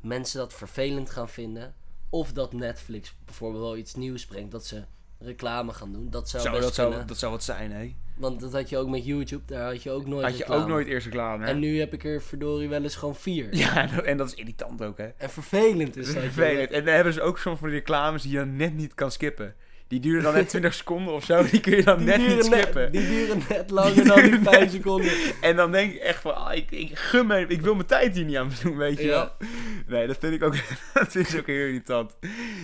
[SPEAKER 2] mensen dat vervelend gaan vinden. Of dat Netflix bijvoorbeeld wel iets nieuws brengt, dat ze reclame gaan doen. Dat zou,
[SPEAKER 1] Zo,
[SPEAKER 2] best
[SPEAKER 1] dat, zou,
[SPEAKER 2] kunnen.
[SPEAKER 1] dat zou wat zijn, hè?
[SPEAKER 2] Want dat had je ook met YouTube, daar had je ook nooit
[SPEAKER 1] Had je
[SPEAKER 2] reclame.
[SPEAKER 1] ook nooit eerst reclame, hè?
[SPEAKER 2] En nu heb ik er verdorie wel eens gewoon vier.
[SPEAKER 1] Ja, en dat is irritant ook, hè?
[SPEAKER 2] En vervelend
[SPEAKER 1] Dat
[SPEAKER 2] is
[SPEAKER 1] is
[SPEAKER 2] dat.
[SPEAKER 1] vervelend.
[SPEAKER 2] joh.
[SPEAKER 1] En dan hebben ze ook soms van die reclames die je dan net niet kan skippen. Die duren dan net 20 seconden of zo, die kun je dan
[SPEAKER 2] Die
[SPEAKER 1] net niet
[SPEAKER 2] duren
[SPEAKER 1] skippen.
[SPEAKER 2] die duren net langer dan die
[SPEAKER 1] duren
[SPEAKER 2] vijf
[SPEAKER 1] net-
[SPEAKER 2] seconden.
[SPEAKER 1] En dan denk ik echt van, ah, ik, ik gun me, ik wil mijn tijd hier niet aan doen, weet je
[SPEAKER 2] Ja.
[SPEAKER 1] wel. Nee, dat vind ik ook, dat vind ik ook heel irritant.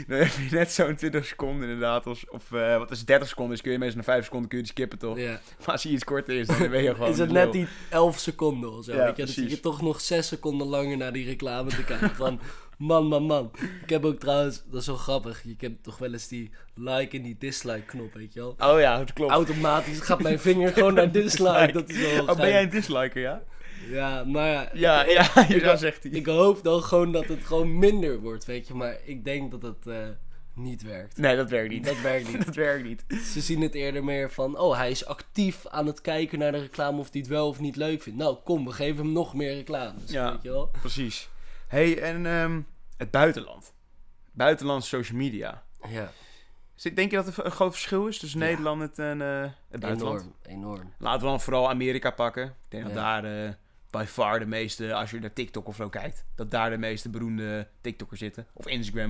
[SPEAKER 1] Dan heb je net zo'n 20 seconden inderdaad, of, of eh, wat is het, 30 seconden, dus kun je mensen na 5 seconden kun je die skippen toch?
[SPEAKER 2] Ja.
[SPEAKER 1] Maar als je iets korter is, dan ben je gewoon
[SPEAKER 2] Is het
[SPEAKER 1] een
[SPEAKER 2] net
[SPEAKER 1] lul.
[SPEAKER 2] die 11 seconden of zo?
[SPEAKER 1] Ja,
[SPEAKER 2] weet je, dan zit je
[SPEAKER 1] precies.
[SPEAKER 2] toch nog 6 seconden langer naar die reclame te kijken. Van man, man, man. Ik heb ook trouwens, dat is wel grappig. Je hebt toch wel eens die like en die dislike knop, weet je wel?
[SPEAKER 1] Oh ja, dat klopt.
[SPEAKER 2] Automatisch gaat mijn vinger gewoon naar dislike. Dat is wel
[SPEAKER 1] Oh, ben jij
[SPEAKER 2] geinig.
[SPEAKER 1] een disliker, ja?
[SPEAKER 2] Ja, maar ja,
[SPEAKER 1] Ja, ja,
[SPEAKER 2] ik-
[SPEAKER 1] ja, zegt hij.
[SPEAKER 2] ik hoop dan gewoon dat het gewoon minder wordt, weet je. Maar ik denk dat het eh, niet werkt.
[SPEAKER 1] Nee, dat werkt niet.
[SPEAKER 2] Dat werkt niet.
[SPEAKER 1] Dat werkt niet.
[SPEAKER 2] Ze zien het eerder meer van, oh, hij is actief aan het kijken naar de reclame of hij het wel of niet leuk vindt. Nou, kom, we geven hem nog meer reclames,
[SPEAKER 1] Ja.
[SPEAKER 2] weet je wel.
[SPEAKER 1] Precies. hey, en ehm, het buitenland. Buitenlandse social media.
[SPEAKER 2] Ja,
[SPEAKER 1] Zit- Denk je dat er een groot verschil is tussen
[SPEAKER 2] Ja.
[SPEAKER 1] Nederland en eh, het buitenland?
[SPEAKER 2] enorm, enorm.
[SPEAKER 1] Laten we dan vooral Amerika pakken. Ik denk dat
[SPEAKER 2] Ja.
[SPEAKER 1] daar eh, by far de meeste, als je naar TikTok of zo kijkt, dat daar de meeste beroemde TikTokkers zitten. Of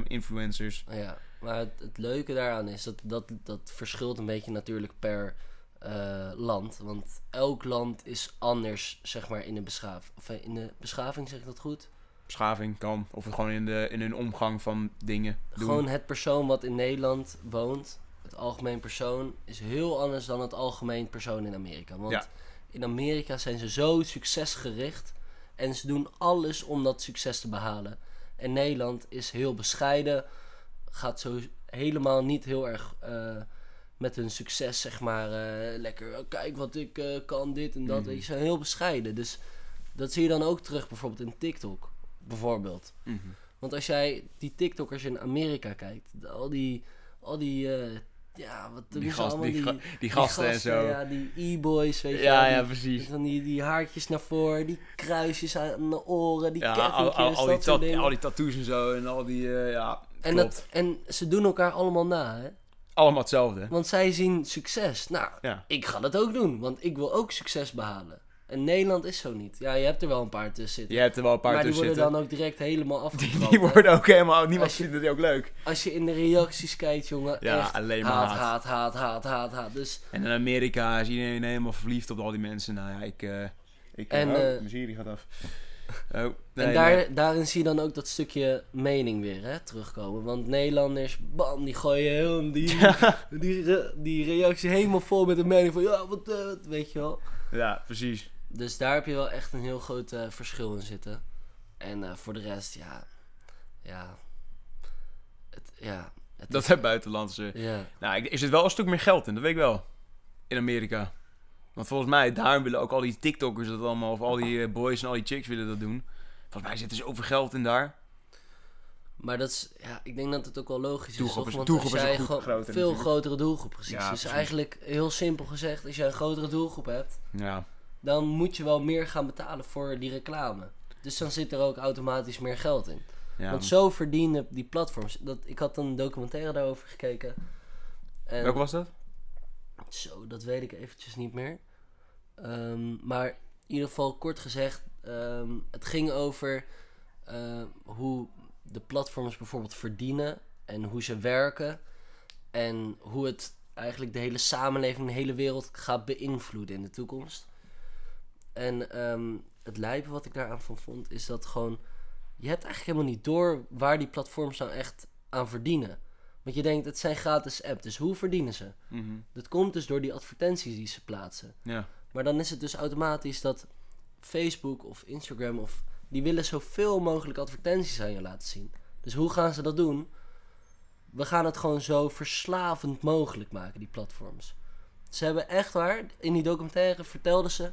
[SPEAKER 1] Instagram-influencers.
[SPEAKER 2] Ja, maar het, het leuke daaraan is dat, dat dat verschilt een beetje natuurlijk per eh, land. Want elk land is anders, zeg maar, in de, beschaaf, of eh, in de beschaving, zeg ik dat goed?
[SPEAKER 1] Beschaving kan. Of gewoon in, de, in hun omgang van dingen doen.
[SPEAKER 2] Gewoon het persoon wat in Nederland woont, het algemeen persoon, is heel anders dan het algemeen persoon in Amerika. Want
[SPEAKER 1] Ja.
[SPEAKER 2] in Amerika zijn ze zo succesgericht en ze doen alles om dat succes te behalen. En Nederland is heel bescheiden, gaat zo helemaal niet heel erg eh, met hun succes, zeg maar, eh, lekker, "Oh, kijk wat ik eh, kan, dit en dat.
[SPEAKER 1] Mhm.
[SPEAKER 2] Weet je, ze zijn heel bescheiden. Dus dat zie je dan ook terug bijvoorbeeld in TikTok, bijvoorbeeld.
[SPEAKER 1] Mhm.
[SPEAKER 2] Want als jij die TikTokkers in Amerika kijkt, de- al die, al die, eh, ja, wat doen
[SPEAKER 1] Die,
[SPEAKER 2] ze
[SPEAKER 1] gast-
[SPEAKER 2] allemaal?
[SPEAKER 1] die,
[SPEAKER 2] die,
[SPEAKER 1] ga-
[SPEAKER 2] die
[SPEAKER 1] die gasten en zo.
[SPEAKER 2] Ja, die e-boys, weet je
[SPEAKER 1] ja,
[SPEAKER 2] wel,
[SPEAKER 1] ja,
[SPEAKER 2] die,
[SPEAKER 1] precies.
[SPEAKER 2] Van die, die haartjes naar voren, die kruisjes aan de oren, die
[SPEAKER 1] Ja, al,
[SPEAKER 2] keffinkjes,
[SPEAKER 1] al, al die
[SPEAKER 2] dat soort
[SPEAKER 1] tat-
[SPEAKER 2] dingen.
[SPEAKER 1] al die tattoos en zo en al die, eh, ja,
[SPEAKER 2] en,
[SPEAKER 1] klopt.
[SPEAKER 2] dat, en ze doen elkaar allemaal na, hè?
[SPEAKER 1] Allemaal hetzelfde.
[SPEAKER 2] Want zij zien succes. Nou,
[SPEAKER 1] Ja.
[SPEAKER 2] ik ga dat ook doen, want ik wil ook succes behalen. En Nederland is zo niet. Ja, je hebt er wel een paar tussen zitten.
[SPEAKER 1] Je hebt er wel een paar
[SPEAKER 2] maar die
[SPEAKER 1] tussen
[SPEAKER 2] worden
[SPEAKER 1] zitten.
[SPEAKER 2] dan ook direct helemaal afgebrand.
[SPEAKER 1] Die worden ook helemaal... Niemand
[SPEAKER 2] Als je-
[SPEAKER 1] vindt het ook leuk.
[SPEAKER 2] Als je in de reacties kijkt, jongen,
[SPEAKER 1] Ja,
[SPEAKER 2] echt
[SPEAKER 1] alleen maar
[SPEAKER 2] haat,
[SPEAKER 1] haat.
[SPEAKER 2] haat, haat, haat, haat, haat. Dus
[SPEAKER 1] En in Amerika is iedereen helemaal verliefd op al die mensen. Nou ja, ik... eh ik
[SPEAKER 2] En,
[SPEAKER 1] oh,
[SPEAKER 2] eh,
[SPEAKER 1] mijn serie gaat af. Oh, nee,
[SPEAKER 2] en daar,
[SPEAKER 1] nee.
[SPEAKER 2] daarin zie je dan ook dat stukje mening weer hè, terugkomen. Want Nederlanders, bam, die gooien heel die, die, re- die reactie helemaal vol met de mening van ja, wat, eh, wat, weet je wel.
[SPEAKER 1] Ja, precies.
[SPEAKER 2] Dus daar heb je wel echt een heel groot eh, verschil in zitten. En eh, voor de rest, ja, ja, het, ja, het
[SPEAKER 1] Dat
[SPEAKER 2] is-
[SPEAKER 1] zijn buitenlandse...
[SPEAKER 2] ja.
[SPEAKER 1] Nou, ik- er zit wel een stuk meer geld in. Dat weet ik wel. In Amerika. Want volgens mij, daar willen ook al die TikTokkers dat allemaal... Of al die eh, boys en al die chicks willen dat doen. Volgens mij zit er zoveel geld in daar.
[SPEAKER 2] Maar dat is, ja, ik denk dat het ook wel logisch is.
[SPEAKER 1] Doelgroep
[SPEAKER 2] Toch?
[SPEAKER 1] is-
[SPEAKER 2] Want
[SPEAKER 1] doelgroep
[SPEAKER 2] als
[SPEAKER 1] is
[SPEAKER 2] jij
[SPEAKER 1] een goed-
[SPEAKER 2] gewoon
[SPEAKER 1] grotere
[SPEAKER 2] veel
[SPEAKER 1] natuurlijk.
[SPEAKER 2] grotere doelgroep, precies.
[SPEAKER 1] Ja,
[SPEAKER 2] dus
[SPEAKER 1] precies.
[SPEAKER 2] eigenlijk heel simpel gezegd, als jij een grotere doelgroep hebt,
[SPEAKER 1] Ja.
[SPEAKER 2] dan moet je wel meer gaan betalen voor die reclame. Dus dan zit er ook automatisch meer geld in.
[SPEAKER 1] ja.
[SPEAKER 2] Want zo verdienen die platforms. Dat, ik had een documentaire daarover gekeken. En
[SPEAKER 1] Welke was dat?
[SPEAKER 2] Zo, dat weet ik eventjes niet meer. Ehm, maar in ieder geval kort gezegd, ehm, het ging over eh, hoe de platforms bijvoorbeeld verdienen en hoe ze werken en hoe het eigenlijk de hele samenleving, de hele wereld gaat beïnvloeden in de toekomst. En ehm, het lijpen wat ik daaraan van vond is dat gewoon, je hebt eigenlijk helemaal niet door waar die platforms nou echt aan verdienen. Want je denkt, het zijn gratis app, dus hoe verdienen ze?
[SPEAKER 1] Mhm.
[SPEAKER 2] Dat komt dus door die advertenties die ze plaatsen.
[SPEAKER 1] Ja.
[SPEAKER 2] Maar dan is het dus automatisch dat Facebook of Instagram of die willen zoveel mogelijk advertenties aan je laten zien. Dus hoe gaan ze dat doen? we gaan het gewoon zo verslavend mogelijk maken, die platforms. Ze hebben echt waar, in die documentaire vertelden ze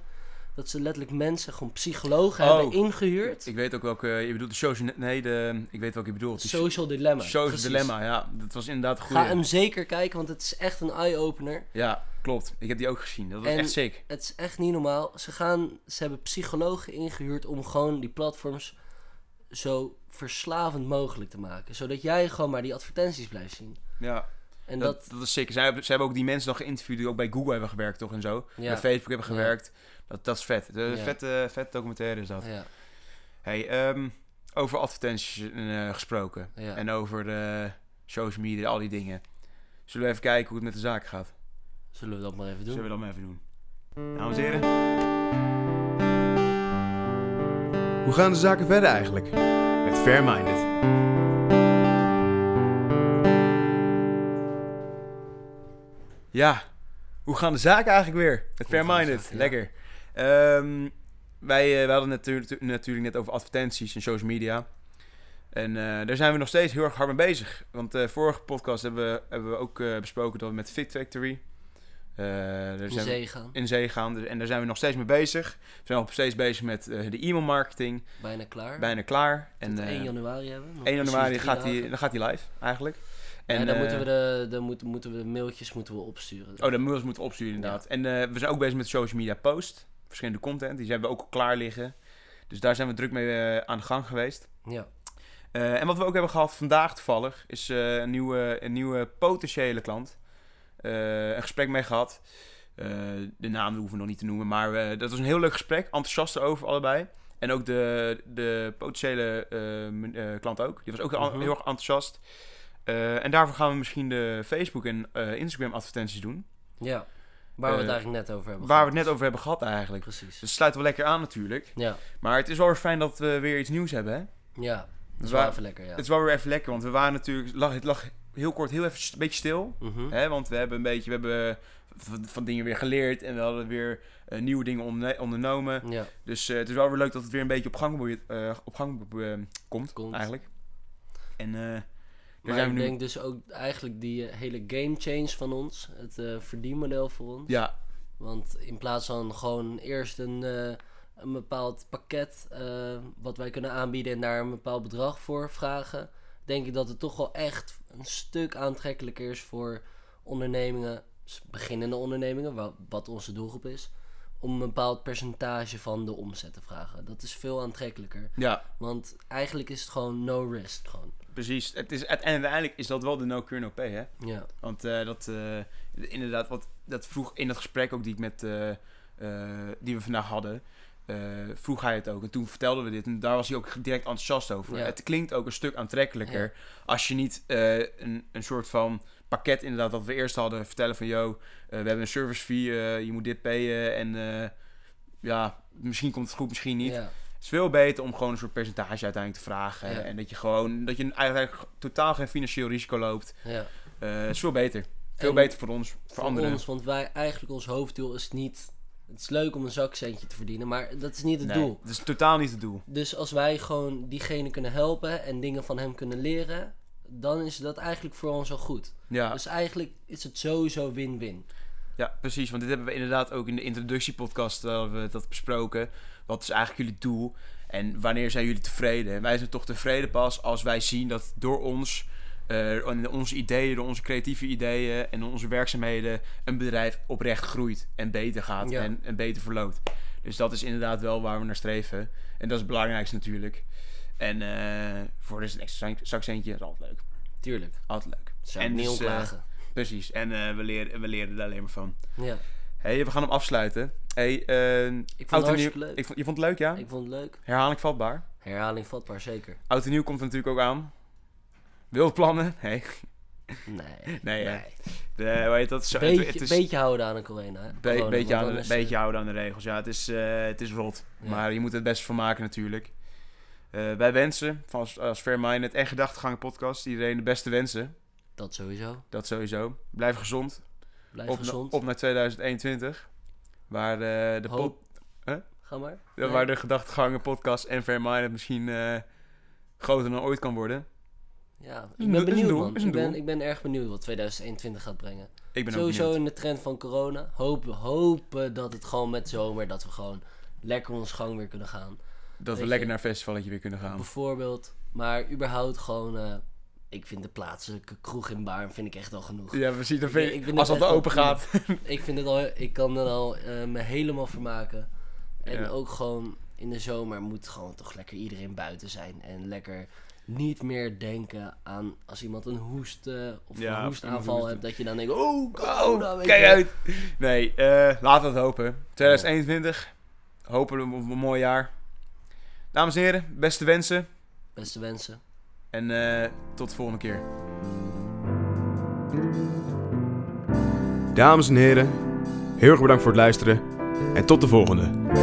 [SPEAKER 2] dat ze letterlijk mensen, gewoon psychologen
[SPEAKER 1] Oh.
[SPEAKER 2] hebben ingehuurd.
[SPEAKER 1] Ik weet ook welke... Je bedoelt de social... Nee, de, ik weet welke je bedoelt. Die
[SPEAKER 2] Social Dilemma.
[SPEAKER 1] social
[SPEAKER 2] precies.
[SPEAKER 1] dilemma, ja. Dat was inderdaad een
[SPEAKER 2] Ga
[SPEAKER 1] goeie.
[SPEAKER 2] hem zeker kijken, want het is echt een eye-opener.
[SPEAKER 1] Ja, klopt. Ik heb die ook gezien. Dat was
[SPEAKER 2] En-
[SPEAKER 1] echt sick.
[SPEAKER 2] Het is echt niet normaal. Ze, gaan, ze hebben psychologen ingehuurd om gewoon die platforms zo verslavend mogelijk te maken. Zodat jij gewoon maar die advertenties blijft zien.
[SPEAKER 1] Ja.
[SPEAKER 2] En
[SPEAKER 1] Dat,
[SPEAKER 2] dat,
[SPEAKER 1] dat, is sick. Zij, hebben- ze hebben ook die mensen dan geïnterviewd die ook bij Google hebben gewerkt, toch? En zo.
[SPEAKER 2] Ja.
[SPEAKER 1] Bij Facebook hebben
[SPEAKER 2] Ja.
[SPEAKER 1] gewerkt. Dat, dat is vet. De
[SPEAKER 2] Ja.
[SPEAKER 1] vette, vette documentaire is dat.
[SPEAKER 2] ja,
[SPEAKER 1] Hey, ehm, over advertenties eh, gesproken.
[SPEAKER 2] Ja.
[SPEAKER 1] En over eh, social media, al die dingen. Zullen we even kijken hoe het met de zaak gaat?
[SPEAKER 2] zullen we dat maar even doen.
[SPEAKER 1] Zullen we dat maar even doen? Dames en heren. Hoe gaan de zaken verder eigenlijk? Met Fairminded. Ja, hoe gaan de zaken eigenlijk weer? Met
[SPEAKER 2] Hoe gaan de
[SPEAKER 1] Fairminded,
[SPEAKER 2] zaken, ja.
[SPEAKER 1] lekker. Ehm, wij, eh, wij hadden het natu- natuurlijk net over advertenties en social media. En eh, daar zijn we nog steeds heel erg hard mee bezig. Want de vorige podcast hebben we, hebben we ook eh, besproken dat we met Fit Factory... eh, daar zijn
[SPEAKER 2] In
[SPEAKER 1] we-
[SPEAKER 2] zee gaan.
[SPEAKER 1] in zee gaan. Dus- En daar zijn we nog steeds mee bezig. We zijn nog steeds bezig met eh, de e-mailmarketing.
[SPEAKER 2] Bijna klaar.
[SPEAKER 1] Bijna klaar.
[SPEAKER 2] Tot
[SPEAKER 1] En eh,
[SPEAKER 2] 1 januari hebben. nog
[SPEAKER 1] 1 januari
[SPEAKER 2] precies drie
[SPEAKER 1] gaat die,
[SPEAKER 2] dagen.
[SPEAKER 1] dan gaat die live, eigenlijk.
[SPEAKER 2] En dan
[SPEAKER 1] eh,
[SPEAKER 2] moeten we de, dan moeten, moeten we de mailtjes moeten we opsturen.
[SPEAKER 1] Oh, de mails moeten opsturen, inderdaad. En eh, we zijn ook bezig met social media post. Verschillende content. Die hebben we ook al klaar liggen. Dus daar zijn we druk mee eh, aan de gang geweest.
[SPEAKER 2] Ja.
[SPEAKER 1] Eh, en wat we ook hebben gehad vandaag toevallig, is eh, een, nieuwe, een nieuwe potentiële klant. Eh, een gesprek mee gehad. Eh, de naam hoeven we nog niet te noemen, maar eh, dat was een heel leuk gesprek. Enthousiast over allebei. En ook de, de potentiële eh, men- eh, klant ook. Die was ook heel-
[SPEAKER 2] Mhm.
[SPEAKER 1] heel erg enthousiast. Eh, en daarvoor gaan we misschien de Facebook en eh, Instagram advertenties doen.
[SPEAKER 2] ja. Waar we het
[SPEAKER 1] Eh,
[SPEAKER 2] eigenlijk net over hebben
[SPEAKER 1] Waar we
[SPEAKER 2] gehad.
[SPEAKER 1] het net over hebben gehad eigenlijk.
[SPEAKER 2] Precies.
[SPEAKER 1] Dus het sluit wel lekker aan natuurlijk.
[SPEAKER 2] Ja.
[SPEAKER 1] Maar het is wel weer fijn dat we weer iets nieuws hebben, hè?
[SPEAKER 2] Ja. Dat is
[SPEAKER 1] Dus Waar-
[SPEAKER 2] wel even lekker, ja.
[SPEAKER 1] Het is wel weer even lekker, want we waren natuurlijk... Lag, het lag heel kort heel even st- een beetje stil.
[SPEAKER 2] Mhm.
[SPEAKER 1] Hè? Want we hebben een beetje... We hebben van, van dingen weer geleerd. En we hadden weer eh, nieuwe dingen onderne- ondernomen.
[SPEAKER 2] Ja.
[SPEAKER 1] Dus eh, het is wel weer leuk dat het weer een beetje op gang, boeit- eh, op gang eh, komt,
[SPEAKER 2] Komt.
[SPEAKER 1] Eigenlijk. En eh daar
[SPEAKER 2] Maar
[SPEAKER 1] zijn
[SPEAKER 2] ik
[SPEAKER 1] we nu...
[SPEAKER 2] denk dus ook eigenlijk die eh, hele game change van ons, het eh, verdienmodel voor ons.
[SPEAKER 1] Ja,
[SPEAKER 2] Want in plaats van gewoon eerst een, eh, een bepaald pakket eh, wat wij kunnen aanbieden en daar een bepaald bedrag voor vragen, denk ik dat het toch wel echt een stuk aantrekkelijker is voor ondernemingen, s- beginnende ondernemingen, wa- wat onze doelgroep is, om een bepaald percentage van de omzet te vragen. Dat is veel aantrekkelijker.
[SPEAKER 1] ja,
[SPEAKER 2] Want eigenlijk is het gewoon no risk. Gewoon.
[SPEAKER 1] precies. Het is, en uiteindelijk is dat wel de no cure no pay, hè?
[SPEAKER 2] Ja.
[SPEAKER 1] Want eh, dat, eh, inderdaad, wat, dat vroeg in dat gesprek ook die ik met, eh, eh, die we vandaag hadden, eh, vroeg hij het ook. En toen vertelden we dit en daar was hij ook direct enthousiast over.
[SPEAKER 2] Ja.
[SPEAKER 1] Het klinkt ook een stuk aantrekkelijker als je niet eh, een, een soort van pakket inderdaad, wat we eerst hadden, vertellen van, yo, eh, we hebben een service fee, eh, je moet dit payen en eh, ja, misschien komt het goed, misschien niet.
[SPEAKER 2] Ja.
[SPEAKER 1] Het is veel beter om gewoon een soort percentage uiteindelijk te vragen.
[SPEAKER 2] Ja.
[SPEAKER 1] En dat je gewoon, dat je eigenlijk totaal geen financieel risico loopt.
[SPEAKER 2] ja.
[SPEAKER 1] Eh, het is veel beter. Veel
[SPEAKER 2] En
[SPEAKER 1] beter voor ons, voor,
[SPEAKER 2] voor
[SPEAKER 1] anderen.
[SPEAKER 2] ons, want wij eigenlijk ons hoofddoel is niet. Het is leuk om een zakcentje te verdienen, maar dat is niet het
[SPEAKER 1] Nee,
[SPEAKER 2] doel.
[SPEAKER 1] Het is totaal niet het doel.
[SPEAKER 2] Dus als wij gewoon diegene kunnen helpen en dingen van hem kunnen leren, dan is dat eigenlijk voor ons al goed.
[SPEAKER 1] Ja,
[SPEAKER 2] Dus eigenlijk is het sowieso win-win.
[SPEAKER 1] ja, precies. Want dit hebben we inderdaad ook in de introductiepodcast eh, hebben we dat besproken. Wat is eigenlijk jullie doel? En wanneer zijn jullie tevreden? En wij zijn toch tevreden pas als wij zien dat door ons, eh, en onze ideeën, door onze creatieve ideeën en onze werkzaamheden, een bedrijf oprecht groeit en beter gaat
[SPEAKER 2] Ja.
[SPEAKER 1] en, en beter verloopt. Dus dat is inderdaad wel waar we naar streven. En dat is het belangrijkste natuurlijk. En eh, voor dus een extra zakcentje is altijd leuk.
[SPEAKER 2] Tuurlijk.
[SPEAKER 1] Altijd leuk.
[SPEAKER 2] Zou en
[SPEAKER 1] En
[SPEAKER 2] niet
[SPEAKER 1] dus, eh,
[SPEAKER 2] ontlagen.
[SPEAKER 1] Precies, en eh, we, leren, we leren er alleen maar van.
[SPEAKER 2] ja.
[SPEAKER 1] hey, we gaan hem afsluiten. Hey, eh,
[SPEAKER 2] Ik
[SPEAKER 1] oud
[SPEAKER 2] vond het
[SPEAKER 1] en nieuw...
[SPEAKER 2] hartstikke leuk.
[SPEAKER 1] Ik vond, je vond het leuk, ja?
[SPEAKER 2] Ik vond het leuk.
[SPEAKER 1] Herhaling vatbaar.
[SPEAKER 2] Herhaling vatbaar, zeker.
[SPEAKER 1] Oud en nieuw komt er natuurlijk ook aan. Wild plannen? Nee.
[SPEAKER 2] Nee.
[SPEAKER 1] Nee, hè.
[SPEAKER 2] nee.
[SPEAKER 1] De, hoe heet dat? Zo,
[SPEAKER 2] Beetje,
[SPEAKER 1] het, het is
[SPEAKER 2] beetje houden aan een corona. hè.
[SPEAKER 1] be-
[SPEAKER 2] Corona,
[SPEAKER 1] beetje,
[SPEAKER 2] want
[SPEAKER 1] aan, de-
[SPEAKER 2] dan is, eh,
[SPEAKER 1] beetje houden aan de regels. Ja, het is, eh, het is rot.
[SPEAKER 2] Ja.
[SPEAKER 1] Maar je moet het best van maken natuurlijk. Eh, wij wensen, van als, als Fairminded en Gedachtegang podcast, iedereen de beste wensen.
[SPEAKER 2] Dat sowieso.
[SPEAKER 1] Dat sowieso. Blijf gezond.
[SPEAKER 2] Blijf
[SPEAKER 1] op, na-
[SPEAKER 2] gezond.
[SPEAKER 1] op naar 2021. Waar eh, de
[SPEAKER 2] Hoop.
[SPEAKER 1] pod-
[SPEAKER 2] Ga maar.
[SPEAKER 1] Ja,
[SPEAKER 2] Nee.
[SPEAKER 1] Waar de gedachtegangen, podcast en Fairminded misschien eh, groter dan ooit kan worden.
[SPEAKER 2] Ja,
[SPEAKER 1] een
[SPEAKER 2] ik ben
[SPEAKER 1] doel- is een
[SPEAKER 2] benieuwd,
[SPEAKER 1] doel,
[SPEAKER 2] man.
[SPEAKER 1] is een
[SPEAKER 2] Ik ben,
[SPEAKER 1] doel.
[SPEAKER 2] ik ben erg benieuwd wat 2021 gaat brengen.
[SPEAKER 1] Ik ben ook
[SPEAKER 2] Sowieso
[SPEAKER 1] benieuwd.
[SPEAKER 2] in de trend van corona. Hopen, hopen dat het gewoon met zomer, dat we gewoon lekker ons gang weer kunnen gaan.
[SPEAKER 1] Dat we
[SPEAKER 2] je-
[SPEAKER 1] lekker naar een festivaletje weer kunnen gaan.
[SPEAKER 2] Bijvoorbeeld. Maar überhaupt gewoon, eh, ik vind de plaatselijke kroeg in Baarn vind ik echt al genoeg.
[SPEAKER 1] Ja, precies. Dan
[SPEAKER 2] Ik-
[SPEAKER 1] vind je-
[SPEAKER 2] ik ben
[SPEAKER 1] als
[SPEAKER 2] net
[SPEAKER 1] dat
[SPEAKER 2] echt
[SPEAKER 1] open
[SPEAKER 2] wel
[SPEAKER 1] gaat.
[SPEAKER 2] Ik vind het al, ik kan er al eh, me helemaal vermaken. En
[SPEAKER 1] Ja.
[SPEAKER 2] ook gewoon in de zomer moet gewoon toch lekker iedereen buiten zijn. En lekker niet meer denken aan als iemand een hoest eh, of
[SPEAKER 1] Ja,
[SPEAKER 2] een
[SPEAKER 1] of
[SPEAKER 2] hoestaanval
[SPEAKER 1] iemand
[SPEAKER 2] hebt. Dat je dan denkt, oh, corona,
[SPEAKER 1] Oh,
[SPEAKER 2] weet
[SPEAKER 1] kijk
[SPEAKER 2] je wel.
[SPEAKER 1] uit. Nee, eh, laten we het hopen. 2021. Hopen we op een mooi jaar. Dames en heren, beste wensen.
[SPEAKER 2] Beste wensen.
[SPEAKER 1] En eh, tot de volgende keer.
[SPEAKER 3] Dames en heren, heel erg bedankt voor het luisteren en tot de volgende.